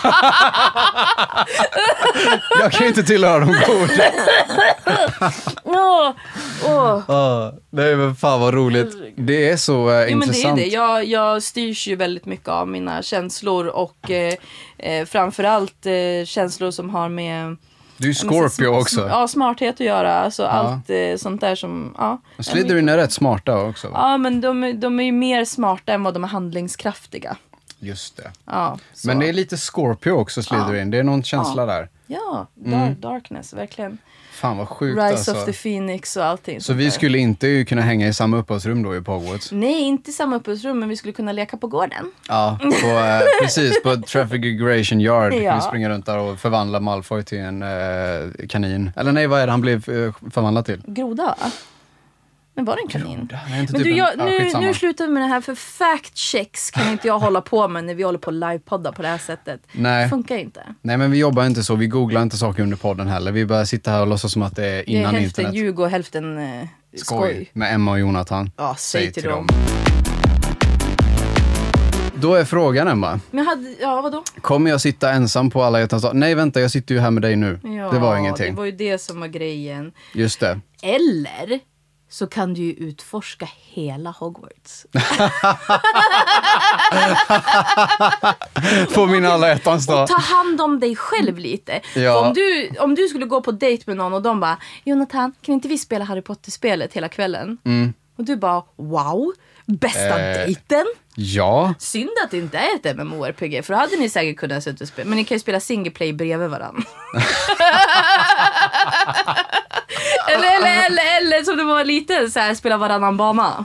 Speaker 2: jag kan ju inte tillhöra de goda.
Speaker 1: Åh, åh.
Speaker 2: Ah, nej men fan vad roligt. Det är så eh,
Speaker 1: Jo men det är
Speaker 2: intressant.
Speaker 1: det, jag, jag styrs ju väldigt mycket av mina känslor och eh, eh, framförallt eh, känslor som har med eh,
Speaker 2: Du är Scorpio också.
Speaker 1: Ja, smarthet att göra, alltså allt eh, sånt där som, ja.
Speaker 2: Slytherin är rätt smarta också. va?
Speaker 1: Ja men de, är- de är ju mer smarta än vad de är handlingskraftiga.
Speaker 2: Just det.
Speaker 1: Ja, så.
Speaker 2: Men det är lite Scorpio också, Slytherin. Det är någon känsla där.
Speaker 1: ja dar- darkness, verkligen.
Speaker 2: Fan vad Mm. sjukt
Speaker 1: Rise
Speaker 2: alltså.
Speaker 1: of the Phoenix och allting.
Speaker 2: Så
Speaker 1: sånt
Speaker 2: vi
Speaker 1: där.
Speaker 2: skulle inte ju kunna hänga i samma uppehållsrum då i på Hogwarts?
Speaker 1: Nej, inte i samma uppehållsrum, men vi skulle kunna leka på gården.
Speaker 2: Ja, på, eh, precis. På Traffic Yard.
Speaker 1: Ja.
Speaker 2: Vi springer runt där och förvandlar Malfoy till en eh, kanin. Eller nej, vad är det han blev eh, förvandlad till?
Speaker 1: Groda, va? Men var det en kanin?
Speaker 2: Groda? Nej, inte
Speaker 1: Men
Speaker 2: typ
Speaker 1: du,
Speaker 2: en-
Speaker 1: jag,
Speaker 2: ja,
Speaker 1: nu,
Speaker 2: skitsamma.
Speaker 1: nu slutar vi med det här för fact checks kan inte jag hålla på med när vi håller på och livepoddar på det här sättet.
Speaker 2: Nej.
Speaker 1: Det funkar inte.
Speaker 2: Nej, men vi jobbar inte så. Vi googlar inte saker under podden heller. Vi bara sitter här och låtsas som att det är
Speaker 1: Det är
Speaker 2: innan
Speaker 1: hälften
Speaker 2: internet.
Speaker 1: ljug och hälften eh, skoj.
Speaker 2: Skoj. Med Emma och Jonathan.
Speaker 1: Ja, säg till dem.
Speaker 2: Då är frågan Emma,
Speaker 1: Men jag hade, ja vadå?
Speaker 2: kommer jag sitta ensam på alla hjärtans dag? Nej vänta, jag sitter ju här med dig nu.
Speaker 1: Ja,
Speaker 2: det var ingenting.
Speaker 1: Det var ju det som var grejen.
Speaker 2: Just det.
Speaker 1: Eller så kan du ju utforska hela Hogwarts.
Speaker 2: På min alla hjärtans dag.
Speaker 1: Ta hand om dig själv lite.
Speaker 2: Ja.
Speaker 1: För Om, du, om du skulle gå på dejt med någon och de bara Jonathan, kan inte vi spela Harry Potter-spelet hela kvällen? Och du bara wow, bästa
Speaker 2: Mm. Eh.
Speaker 1: dejten.
Speaker 2: Ja,
Speaker 1: Synd att det inte är ett MMORPG för då hade ni säkert kunnat sitta och spela. Men ni kan ju spela single play bredvid varandra. eller, eller, eller, eller som det var lite så här spela varannan bana.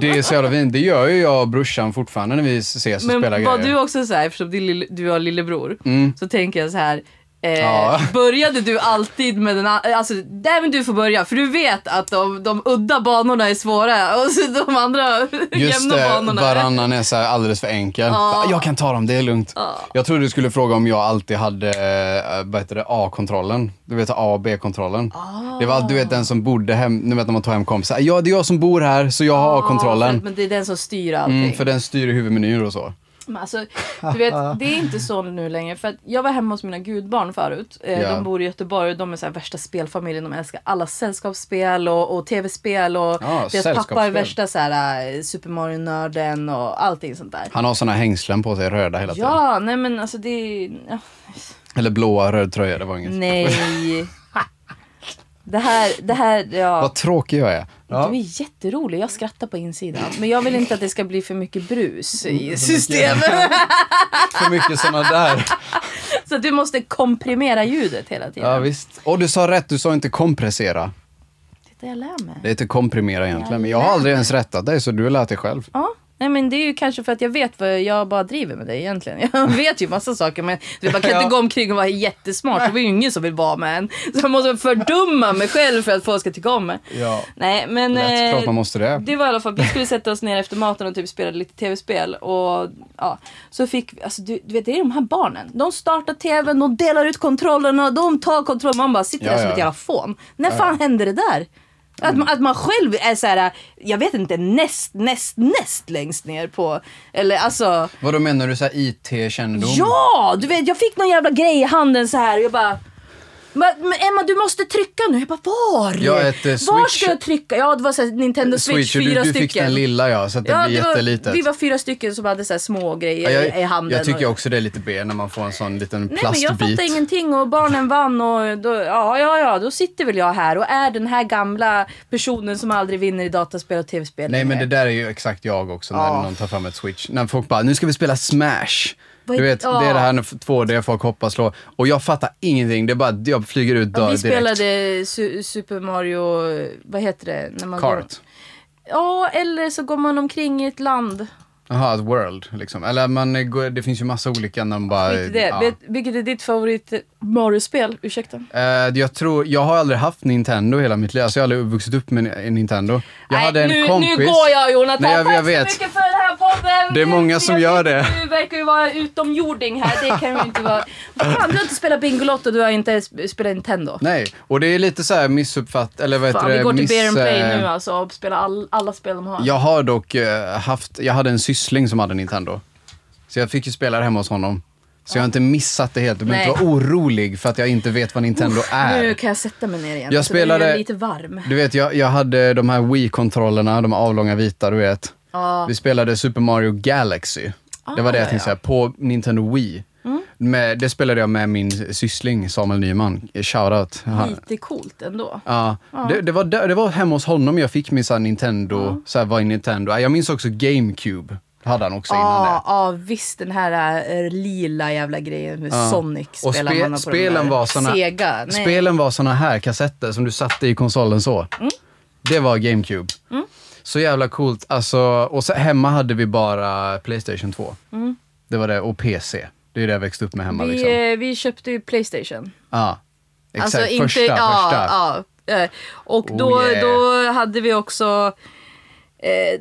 Speaker 2: det är så jävla fint. Det gör ju jag och brorsan fortfarande när vi ses och
Speaker 1: Men
Speaker 2: spelar
Speaker 1: var
Speaker 2: grejer. Mm.
Speaker 1: du också så här, eftersom din lille, du har lillebror, så tänker jag så här. Eh,
Speaker 2: Ja.
Speaker 1: Började du alltid med den a- alltså där men du får börja för du vet att de, de udda banorna är svåra och så de andra
Speaker 2: Just
Speaker 1: jämna
Speaker 2: det,
Speaker 1: banorna.
Speaker 2: varannan är så här alldeles för enkel.
Speaker 1: Ja.
Speaker 2: Jag kan ta dem, det är lugnt.
Speaker 1: Ja.
Speaker 2: Jag trodde du skulle fråga om jag alltid hade eh, vad heter det, A-kontrollen. Du vet A och B-kontrollen.
Speaker 1: Ah.
Speaker 2: Det var du vet den som bodde hem, nu vet när man tar hem kompisar. Ja, det är jag som bor här så jag har
Speaker 1: Ja,
Speaker 2: A-kontrollen.
Speaker 1: för- Men det är den som styr allting.
Speaker 2: Mm, för den styr huvudmenyer och så.
Speaker 1: Men alltså, du vet, det är inte så nu längre. För att jag var hemma hos mina gudbarn förut. Eh,
Speaker 2: Ja.
Speaker 1: De bor i Göteborg och de är så här värsta spelfamiljen. De älskar alla sällskapsspel och, och tv-spel. Och deras pappa är
Speaker 2: sällskapsspel.
Speaker 1: värsta så här, eh, Super Mario-nörden och allting sånt där.
Speaker 2: Han har såna hängslen på sig, röda hela tiden.
Speaker 1: Ja, nej men alltså det är... ja,
Speaker 2: Eller blåa, röd tröja, det var inget.
Speaker 1: Nej. Det här, det här, ja.
Speaker 2: Vad tråkig jag är. Ja.
Speaker 1: Du är jätterolig, jag skrattar på insidan. Men jag vill inte att det ska bli för mycket brus
Speaker 2: Mm,
Speaker 1: i systemet.
Speaker 2: För mycket såna där.
Speaker 1: Så att du måste komprimera ljudet hela tiden.
Speaker 2: Ja, visst. Och du sa rätt, du sa inte kompressera.
Speaker 1: Titta, jag lär mig.
Speaker 2: Det heter komprimera egentligen, men jag har aldrig ens rättat dig så du har lärt dig själv.
Speaker 1: Ja, Nej men det är ju kanske för att jag vet vad jag bara driver med dig egentligen. Jag vet ju massa saker men jag bara kan
Speaker 2: Ja.
Speaker 1: inte gå omkring och vara jättesmart. Det är ju ingen som vill vara med en. Så jag måste fördumma mig själv för att folk ska tycka om mig.
Speaker 2: Ja.
Speaker 1: Nej men...
Speaker 2: Lätt,
Speaker 1: eh,
Speaker 2: klart man måste det.
Speaker 1: Det var i alla fall, vi skulle sätta oss ner efter maten och typ spela lite tv-spel. Och ja, så fick vi, alltså du, du vet det är de här barnen. De startar tvn, de delar ut kontrollerna, de tar kontrollen. Man bara sitter
Speaker 2: Ja,
Speaker 1: där som
Speaker 2: ja. Mm.
Speaker 1: ett jävla fån. När fan hände det där? Att man, att man själv är så här, jag vet inte, näst, näst, näst längst ner på, eller alltså.
Speaker 2: Vadå menar du så här IT-kännedom?
Speaker 1: Ja! Du vet, jag fick någon jävla grej i handen så här och jag bara men men Emma du måste trycka nu. Jag bara var?
Speaker 2: Ja, ett, eh,
Speaker 1: Var
Speaker 2: Switch-
Speaker 1: ska jag trycka? Ja det var så här, Nintendo Switch,
Speaker 2: Switch, och du,
Speaker 1: fyra
Speaker 2: du
Speaker 1: stycken.
Speaker 2: fick den lilla ja, så att det
Speaker 1: Ja,
Speaker 2: blir
Speaker 1: det
Speaker 2: jättelitet.
Speaker 1: var, vi var fyra stycken som hade så här små grejer
Speaker 2: Ja,
Speaker 1: i handen.
Speaker 2: jag tycker
Speaker 1: och,
Speaker 2: också det är lite B när man får en sån liten
Speaker 1: Nej men
Speaker 2: plastbit.
Speaker 1: jag fattar ingenting och barnen vann och då, ja, ja, ja, då sitter väl jag här och är den här gamla personen som aldrig vinner i dataspel och tv-spel.
Speaker 2: Nej men det
Speaker 1: längre.
Speaker 2: där är ju exakt jag också när
Speaker 1: Ja.
Speaker 2: någon tar fram ett switch. När folk bara, nu ska vi spela smash.
Speaker 1: Vad
Speaker 2: Du
Speaker 1: är-
Speaker 2: vet, det
Speaker 1: ja.
Speaker 2: är det här när f- 2D folk hoppar slå. Och jag fattar ingenting, det är bara att jag flyger ut dör
Speaker 1: Vi
Speaker 2: direkt.
Speaker 1: spelade su- Super Mario, vad heter det? När man Går,
Speaker 2: Kart.
Speaker 1: ja, eller så går man omkring i ett land.
Speaker 2: Jaha, ett world liksom. Eller man, eh, går- det finns ju massa olika när man bara...
Speaker 1: Vet du det?
Speaker 2: ja.
Speaker 1: Vet, vilket är ditt favorit Mario-spel? Ursäkta.
Speaker 2: Eh, jag, tror, jag har aldrig haft Nintendo hela mitt liv, alltså jag har aldrig vuxit upp med en Nintendo. Jag hade en
Speaker 1: nu,
Speaker 2: kompis.
Speaker 1: nu går jag Jonathan.
Speaker 2: Nej, jag, jag
Speaker 1: Tack
Speaker 2: vet.
Speaker 1: så mycket för den här podden.
Speaker 2: Det är många som
Speaker 1: Jag
Speaker 2: gör
Speaker 1: vet att
Speaker 2: det.
Speaker 1: Du verkar ju vara utomjording här. Det kan ju inte vara... Fan, du har inte spelat Bingolotto, du har inte sp- spelat Nintendo.
Speaker 2: Nej, och det är lite så här missuppfatt... Eller vad heter
Speaker 1: Fan,
Speaker 2: det?
Speaker 1: vi går till Bear and Play
Speaker 2: eh,
Speaker 1: nu alltså och spelar all, alla spel de har.
Speaker 2: Jag har dock eh, haft, jag hade en syssling som hade Nintendo. Så jag fick ju spela det hemma hos honom. Så jag har inte missat det helt. Du behöver inte
Speaker 1: Nej.
Speaker 2: vara orolig för att jag inte vet vad Nintendo
Speaker 1: Nu
Speaker 2: är.
Speaker 1: kan jag sätta mig ner igen.
Speaker 2: Jag
Speaker 1: Alltså, nu är
Speaker 2: spelade-
Speaker 1: jag lite varm.
Speaker 2: Du vet, jag, jag hade de här Wii-kontrollerna, de avlånga vita, du vet.
Speaker 1: Ja.
Speaker 2: Vi spelade Super Mario Galaxy. det var det jag
Speaker 1: Ah, Mm.
Speaker 2: tänkte säga, på Nintendo Wii. Med, det spelade jag med min syssling Samuel Nyman. Shoutout. Han-
Speaker 1: Lite coolt ändå.
Speaker 2: Ja, det, det, var där, det var hemma hos honom jag fick min så här Nintendo, så här, vad är Nintendo? Jag minns också GameCube, hade han också innan det.
Speaker 1: Ja, ja visst den här eh, lila jävla grejen med Sonic
Speaker 2: Och
Speaker 1: spelar
Speaker 2: spe-
Speaker 1: man på
Speaker 2: spelen
Speaker 1: de där.
Speaker 2: var såna,
Speaker 1: Sega. Nej.
Speaker 2: Spelen var såna här kassetter som du satte i konsolen så.
Speaker 1: Mm.
Speaker 2: Det var GameCube. Så jävla coolt. Alltså, och sen, hemma hade vi bara Playstation 2.
Speaker 1: Mm.
Speaker 2: Det var det, och PC. Det är det jag växte upp med hemma.
Speaker 1: vi,
Speaker 2: liksom.
Speaker 1: eh, vi köpte ju Playstation.
Speaker 2: Ja, exakt.
Speaker 1: Alltså inte,
Speaker 2: första,
Speaker 1: ja,
Speaker 2: första.
Speaker 1: Ja, eh, och
Speaker 2: Oh,
Speaker 1: då,
Speaker 2: yeah.
Speaker 1: då hade vi också... Eh,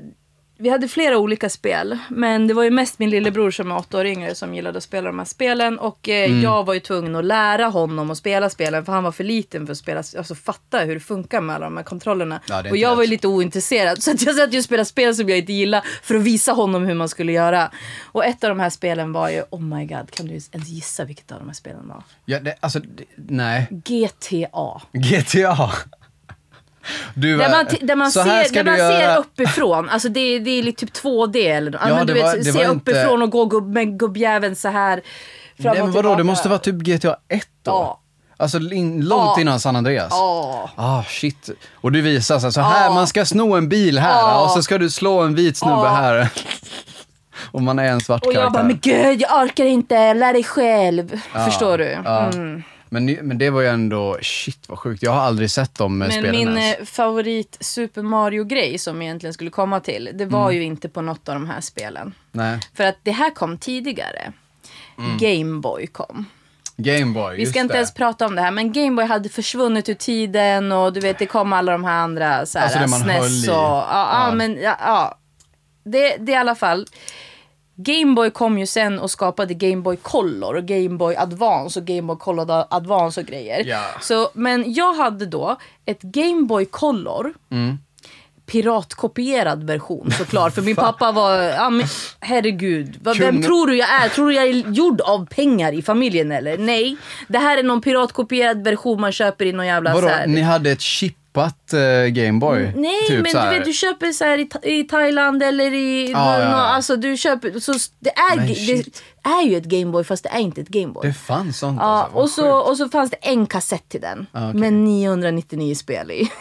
Speaker 1: vi hade flera olika spel, men det var ju mest min lillebror som är åtta år yngre som gillade att spela de här spelen. Och eh,
Speaker 2: Mm.
Speaker 1: jag var ju tvungen att lära honom att spela spelen för han var för liten för att spela, alltså fatta hur det funkar med alla de här kontrollerna.
Speaker 2: Ja, det är inte
Speaker 1: och jag
Speaker 2: lätt.
Speaker 1: var ju lite ointresserad så att jag satt ju och spelade spel som jag inte gillade för att visa honom hur man skulle göra. Och ett av de här spelen var ju, oh my god, kan du ens gissa vilket av de här spelen var?
Speaker 2: Ja, det, alltså, det, nej.
Speaker 1: GTA.
Speaker 2: GTA. Du,
Speaker 1: Där
Speaker 2: eh,
Speaker 1: man, t- där man,
Speaker 2: så här
Speaker 1: ser, där
Speaker 2: ska du
Speaker 1: man
Speaker 2: göra.
Speaker 1: ser uppifrån. Alltså det, är- det är lite typ 2D eller nåt.
Speaker 2: Ja,
Speaker 1: ja, men du
Speaker 2: det var-
Speaker 1: vet, se
Speaker 2: det var inte-
Speaker 1: uppifrån och gå gubb, med gubbjäveln så här. Fram
Speaker 2: Nej,
Speaker 1: och
Speaker 2: men vadå, det
Speaker 1: tillbaka.
Speaker 2: måste vara typ GTA 1 då?
Speaker 1: Ja.
Speaker 2: Alltså in, långt
Speaker 1: Ja.
Speaker 2: innan San Andreas?
Speaker 1: Ja.
Speaker 2: Ah, shit. Och du visar så här, så här
Speaker 1: Ja.
Speaker 2: man ska sno en bil här
Speaker 1: Ja.
Speaker 2: och så ska du slå en vit snubbe
Speaker 1: Ja.
Speaker 2: här. och man är en svart
Speaker 1: Och
Speaker 2: karaktär.
Speaker 1: jag bara, men gud jag orkar inte, lär dig själv.
Speaker 2: Ja.
Speaker 1: Förstår du? Mm.
Speaker 2: Ja. Men, ni- men det var ju ändå, shit vad sjukt. Jag har aldrig sett de eh,
Speaker 1: Men
Speaker 2: spelen
Speaker 1: min
Speaker 2: ens.
Speaker 1: eh, favorit Super Mario-grej som jag egentligen skulle komma till, det var
Speaker 2: Mm.
Speaker 1: ju inte på något av de här spelen.
Speaker 2: Nej.
Speaker 1: För att det här kom tidigare.
Speaker 2: Mm.
Speaker 1: Gameboy kom.
Speaker 2: Gameboy,
Speaker 1: Vi
Speaker 2: just
Speaker 1: ska inte
Speaker 2: det.
Speaker 1: ens prata om det här, men Gameboy hade försvunnit ur tiden och du vet, det kom alla de här andra så här,
Speaker 2: Alltså det man höll i.
Speaker 1: SNES och... Ja, ja.
Speaker 2: Ja.
Speaker 1: men ja, ja. Det, det är i alla fall. Gameboy kom ju sen och skapade Gameboy Color och Gameboy Advance och Gameboy Color Ad- Advance och grejer.
Speaker 2: Ja.
Speaker 1: Så, men jag hade då ett Gameboy Color piratkopierad version såklart. För min pappa var, ja, men, herregud. Vad- Vem
Speaker 2: Kunde-
Speaker 1: tror du jag är? Tror du jag är gjord av pengar i familjen eller? Nej. Det här är någon piratkopierad version man köper i någon jävla
Speaker 2: Vadå,
Speaker 1: så här.
Speaker 2: ni hade ett chippat eh, Gameboy?
Speaker 1: Nej
Speaker 2: typ
Speaker 1: men
Speaker 2: så
Speaker 1: du
Speaker 2: här.
Speaker 1: vet du köper så här i, Tha- i Thailand eller i...
Speaker 2: Ja, ja, ja.
Speaker 1: nå- Alltså du köper... Så s- det, är,
Speaker 2: Men
Speaker 1: det
Speaker 2: shit.
Speaker 1: är ju ett Gameboy fast det är inte ett Gameboy.
Speaker 2: Det fanns sånt
Speaker 1: Ja,
Speaker 2: alltså. vad
Speaker 1: och, så,
Speaker 2: sjukt.
Speaker 1: och så fanns det en kassett till den
Speaker 2: Ah, okej.
Speaker 1: med 999 spel i.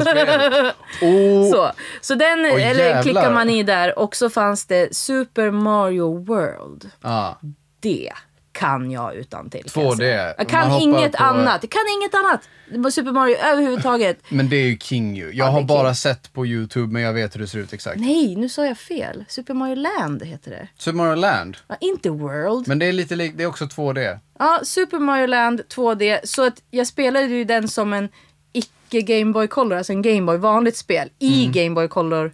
Speaker 2: spel. Oh,
Speaker 1: Så, så den
Speaker 2: Åh, jävlar.
Speaker 1: eller klickar man i där och så fanns det Super Mario World.
Speaker 2: Ja.
Speaker 1: Det kan jag utan till.
Speaker 2: 2D.
Speaker 1: Jag
Speaker 2: Man
Speaker 1: kan
Speaker 2: hoppar
Speaker 1: inget
Speaker 2: på-
Speaker 1: annat. Jag kan inget annat. Det var Super Mario överhuvudtaget.
Speaker 2: Men det är ju king ju. Jag
Speaker 1: det
Speaker 2: har
Speaker 1: är
Speaker 2: bara sett på YouTube men jag vet hur det ser ut exakt.
Speaker 1: Nej, nu sa jag fel. Super Mario Land heter det.
Speaker 2: Super Mario Land.
Speaker 1: Ja, inte World.
Speaker 2: Men det är lite lik, det är också 2D.
Speaker 1: Ja, Super Mario Land 2D. Så att jag spelade ju den som en icke Game Boy Color, alltså en Game Boy, vanligt spel i Game Boy Color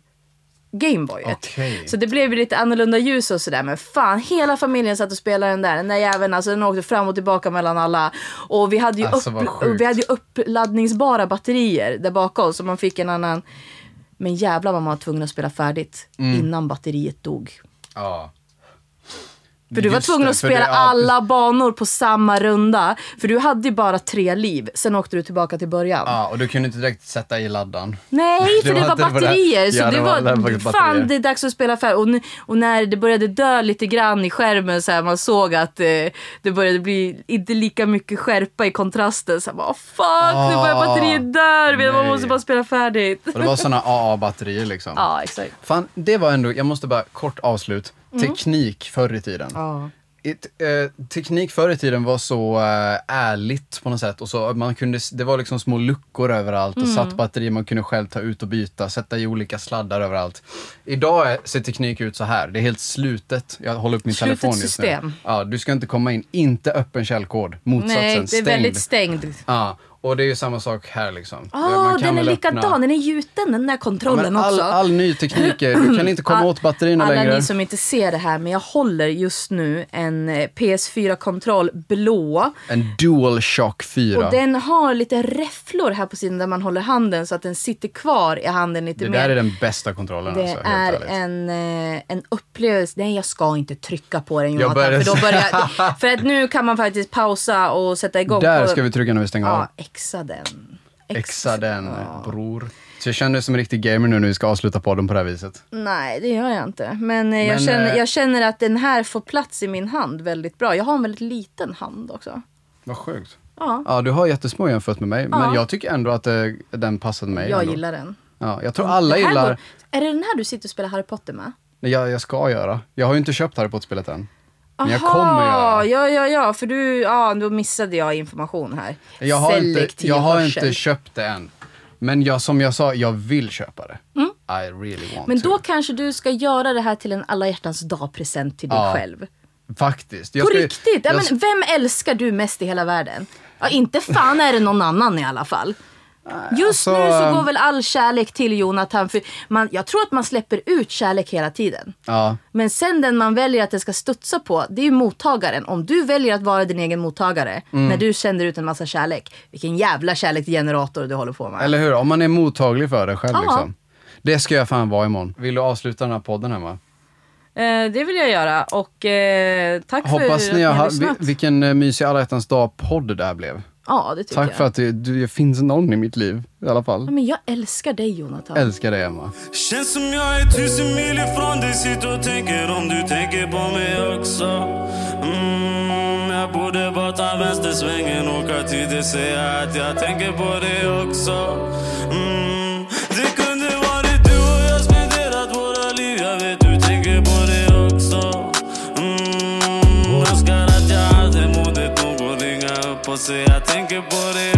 Speaker 1: Gameboyet.
Speaker 2: Mm. Okej.
Speaker 1: Så det blev ju lite annorlunda ljus och sådär. Men fan, hela familjen satt och spelade den där. Den där jäveln, alltså den åkte fram och tillbaka mellan alla. Och vi hade ju,
Speaker 2: Alltså, vad
Speaker 1: upp,
Speaker 2: sjukt.
Speaker 1: och vi hade ju uppladdningsbara batterier där bakom. Så man fick en annan... Men jävlar vad man var tvungen att spela färdigt
Speaker 2: Mm.
Speaker 1: innan batteriet dog.
Speaker 2: Ja.
Speaker 1: För du var
Speaker 2: Just
Speaker 1: tvungen
Speaker 2: det,
Speaker 1: att
Speaker 2: för det-
Speaker 1: spela
Speaker 2: ja,
Speaker 1: alla banor på samma runda. För du hade ju bara tre liv, sen åkte du tillbaka till början.
Speaker 2: Ja, och du kunde inte direkt sätta i laddan.
Speaker 1: Nej, för
Speaker 2: Det
Speaker 1: det,
Speaker 2: var
Speaker 1: var,
Speaker 2: inte på det-
Speaker 1: batterier. så
Speaker 2: Ja,
Speaker 1: det,
Speaker 2: det
Speaker 1: var,
Speaker 2: var- det var batterier.
Speaker 1: fan det är dags att spela färdigt. Och, nu- och när det började dö lite grann i skärmen så här, man såg att eh, det började bli inte lika mycket skärpa i kontrasten. Så här, bara, "Åh, fuck, nu börjar
Speaker 2: Ah,
Speaker 1: batteriet dö. Vi- Man
Speaker 2: nej.
Speaker 1: måste bara spela färdigt.
Speaker 2: Och det var såna AA-batterier liksom.
Speaker 1: Ja, exakt.
Speaker 2: Fan, det var ändå, jag måste bara kort avslut.
Speaker 1: Mm.
Speaker 2: Teknik förr i tiden.
Speaker 1: Ja.
Speaker 2: It, eh, teknik förr i tiden var så eh, ärligt på något sätt. Och så man kunde, s- det var liksom små luckor överallt och
Speaker 1: Mm.
Speaker 2: satt batterier man kunde själv ta ut och byta, sätta i olika sladdar överallt. Idag är, ser teknik ut så här. Det är helt slutet. Jag håller upp min
Speaker 1: Slutet
Speaker 2: telefon just nu.
Speaker 1: system.
Speaker 2: Ja, du ska inte komma in. Inte öppen källkod. Motsatsen.
Speaker 1: Nej, det är
Speaker 2: stängd.
Speaker 1: väldigt stängd.
Speaker 2: ja, och det är ju samma sak här liksom.
Speaker 1: Ah,
Speaker 2: Man kan
Speaker 1: den är
Speaker 2: väl öppna-
Speaker 1: likadan. Den är gjuten den där kontrollen
Speaker 2: Men all,
Speaker 1: också.
Speaker 2: all ny teknik, är, du kan inte komma åt batterierna
Speaker 1: Alla
Speaker 2: längre.
Speaker 1: ni som inte ser det här, men jag håller just nu en eh, PS4-kontroll blå.
Speaker 2: En DualShock 4.
Speaker 1: Och den har lite räfflor här på sidan där man håller handen så att den sitter kvar i handen lite
Speaker 2: det
Speaker 1: mer.
Speaker 2: där är den bästa kontrollen
Speaker 1: Det
Speaker 2: alltså,
Speaker 1: är
Speaker 2: helt ärligt.
Speaker 1: en, eh, en upplevelse. Nej, jag ska inte trycka på den Jonathan.
Speaker 2: började-
Speaker 1: För, då börjar, för att nu kan man faktiskt pausa och sätta igång.
Speaker 2: Där
Speaker 1: på,
Speaker 2: ska vi trycka när vi stänger av.
Speaker 1: Ja, exa den.
Speaker 2: Exa den, bror. Så jag känner mig som en riktig gamer nu när vi ska avsluta podden på det här viset.
Speaker 1: Nej, det gör jag inte. Men, eh, jag,
Speaker 2: Men,
Speaker 1: känner,
Speaker 2: eh,
Speaker 1: jag känner att den här får plats i min hand väldigt bra. Jag har en väldigt liten hand också.
Speaker 2: Vad sjukt.
Speaker 1: Ja,
Speaker 2: Ja, du har jättesmå jämfört med mig, men
Speaker 1: Ja.
Speaker 2: jag tycker ändå att eh, den passade mig.
Speaker 1: jag
Speaker 2: ändå.
Speaker 1: gillar den.
Speaker 2: Ja, jag tror alla
Speaker 1: Det här
Speaker 2: gillar...
Speaker 1: går- Är det den här du sitter och spelar Harry Potter med?
Speaker 2: Nej, jag, jag ska göra. Jag har ju inte köpt Harry Potter-spelet än. Men jag
Speaker 1: Aha,
Speaker 2: kommer göra.
Speaker 1: Ja, ja, ja, för du, ja, då missade jag information här.
Speaker 2: Jag har, inte,
Speaker 1: Selektiv
Speaker 2: jag har
Speaker 1: hörsel.
Speaker 2: inte köpt det än. Men jag, som jag sa, jag vill köpa det. I really want
Speaker 1: Mm. Men
Speaker 2: to.
Speaker 1: då kanske du ska göra det här till en alla hjärtans dag-present till dig
Speaker 2: Ja.
Speaker 1: själv.
Speaker 2: Faktiskt. Jag
Speaker 1: På
Speaker 2: ska-
Speaker 1: riktigt! Ja,
Speaker 2: jag
Speaker 1: men vem älskar du mest i hela världen? Ja, inte fan är det någon annan i alla fall. Just
Speaker 2: alltså,
Speaker 1: nu så
Speaker 2: ehm,
Speaker 1: går väl all kärlek till Jonathan. För man, jag tror att man släpper ut kärlek hela tiden.
Speaker 2: Ja.
Speaker 1: Men sen den man väljer att den ska studsa på, det är ju mottagaren. Om du väljer att vara din egen mottagare
Speaker 2: Mm.
Speaker 1: när du sänder ut en massa kärlek. Vilken jävla kärleksgenerator du håller på med.
Speaker 2: Eller hur? Om man är mottaglig för det själv
Speaker 1: Ja.
Speaker 2: liksom. Det ska jag fan vara imorgon. Vill du avsluta den här podden Emma?
Speaker 1: Eh, det vill jag göra och eh, tack
Speaker 2: Hoppas
Speaker 1: för
Speaker 2: ni
Speaker 1: att ni har
Speaker 2: har...
Speaker 1: lyssnat.
Speaker 2: vi- Vilken eh, mysig alla hjärtans dag-podd det där blev.
Speaker 1: ja, det tycker
Speaker 2: Tack
Speaker 1: jag.
Speaker 2: för att det, du, det finns någon i mitt liv i alla fall.
Speaker 1: Ja, men jag älskar dig Jonathan.
Speaker 2: Älskar dig Emma.
Speaker 3: Känns som jag är tusen mil ifrån dig Sitter och tänker om du tänker på mig också mm, Jag borde bara ta vänstersvängen Åka till dig säga att jag tänker på dig också mm, Det kunde varit du och jag spenderat våra liv Jag vet du tänker på det också mm, Önskar att jag hade modet nog att ringa upp och säga jag tänker på dig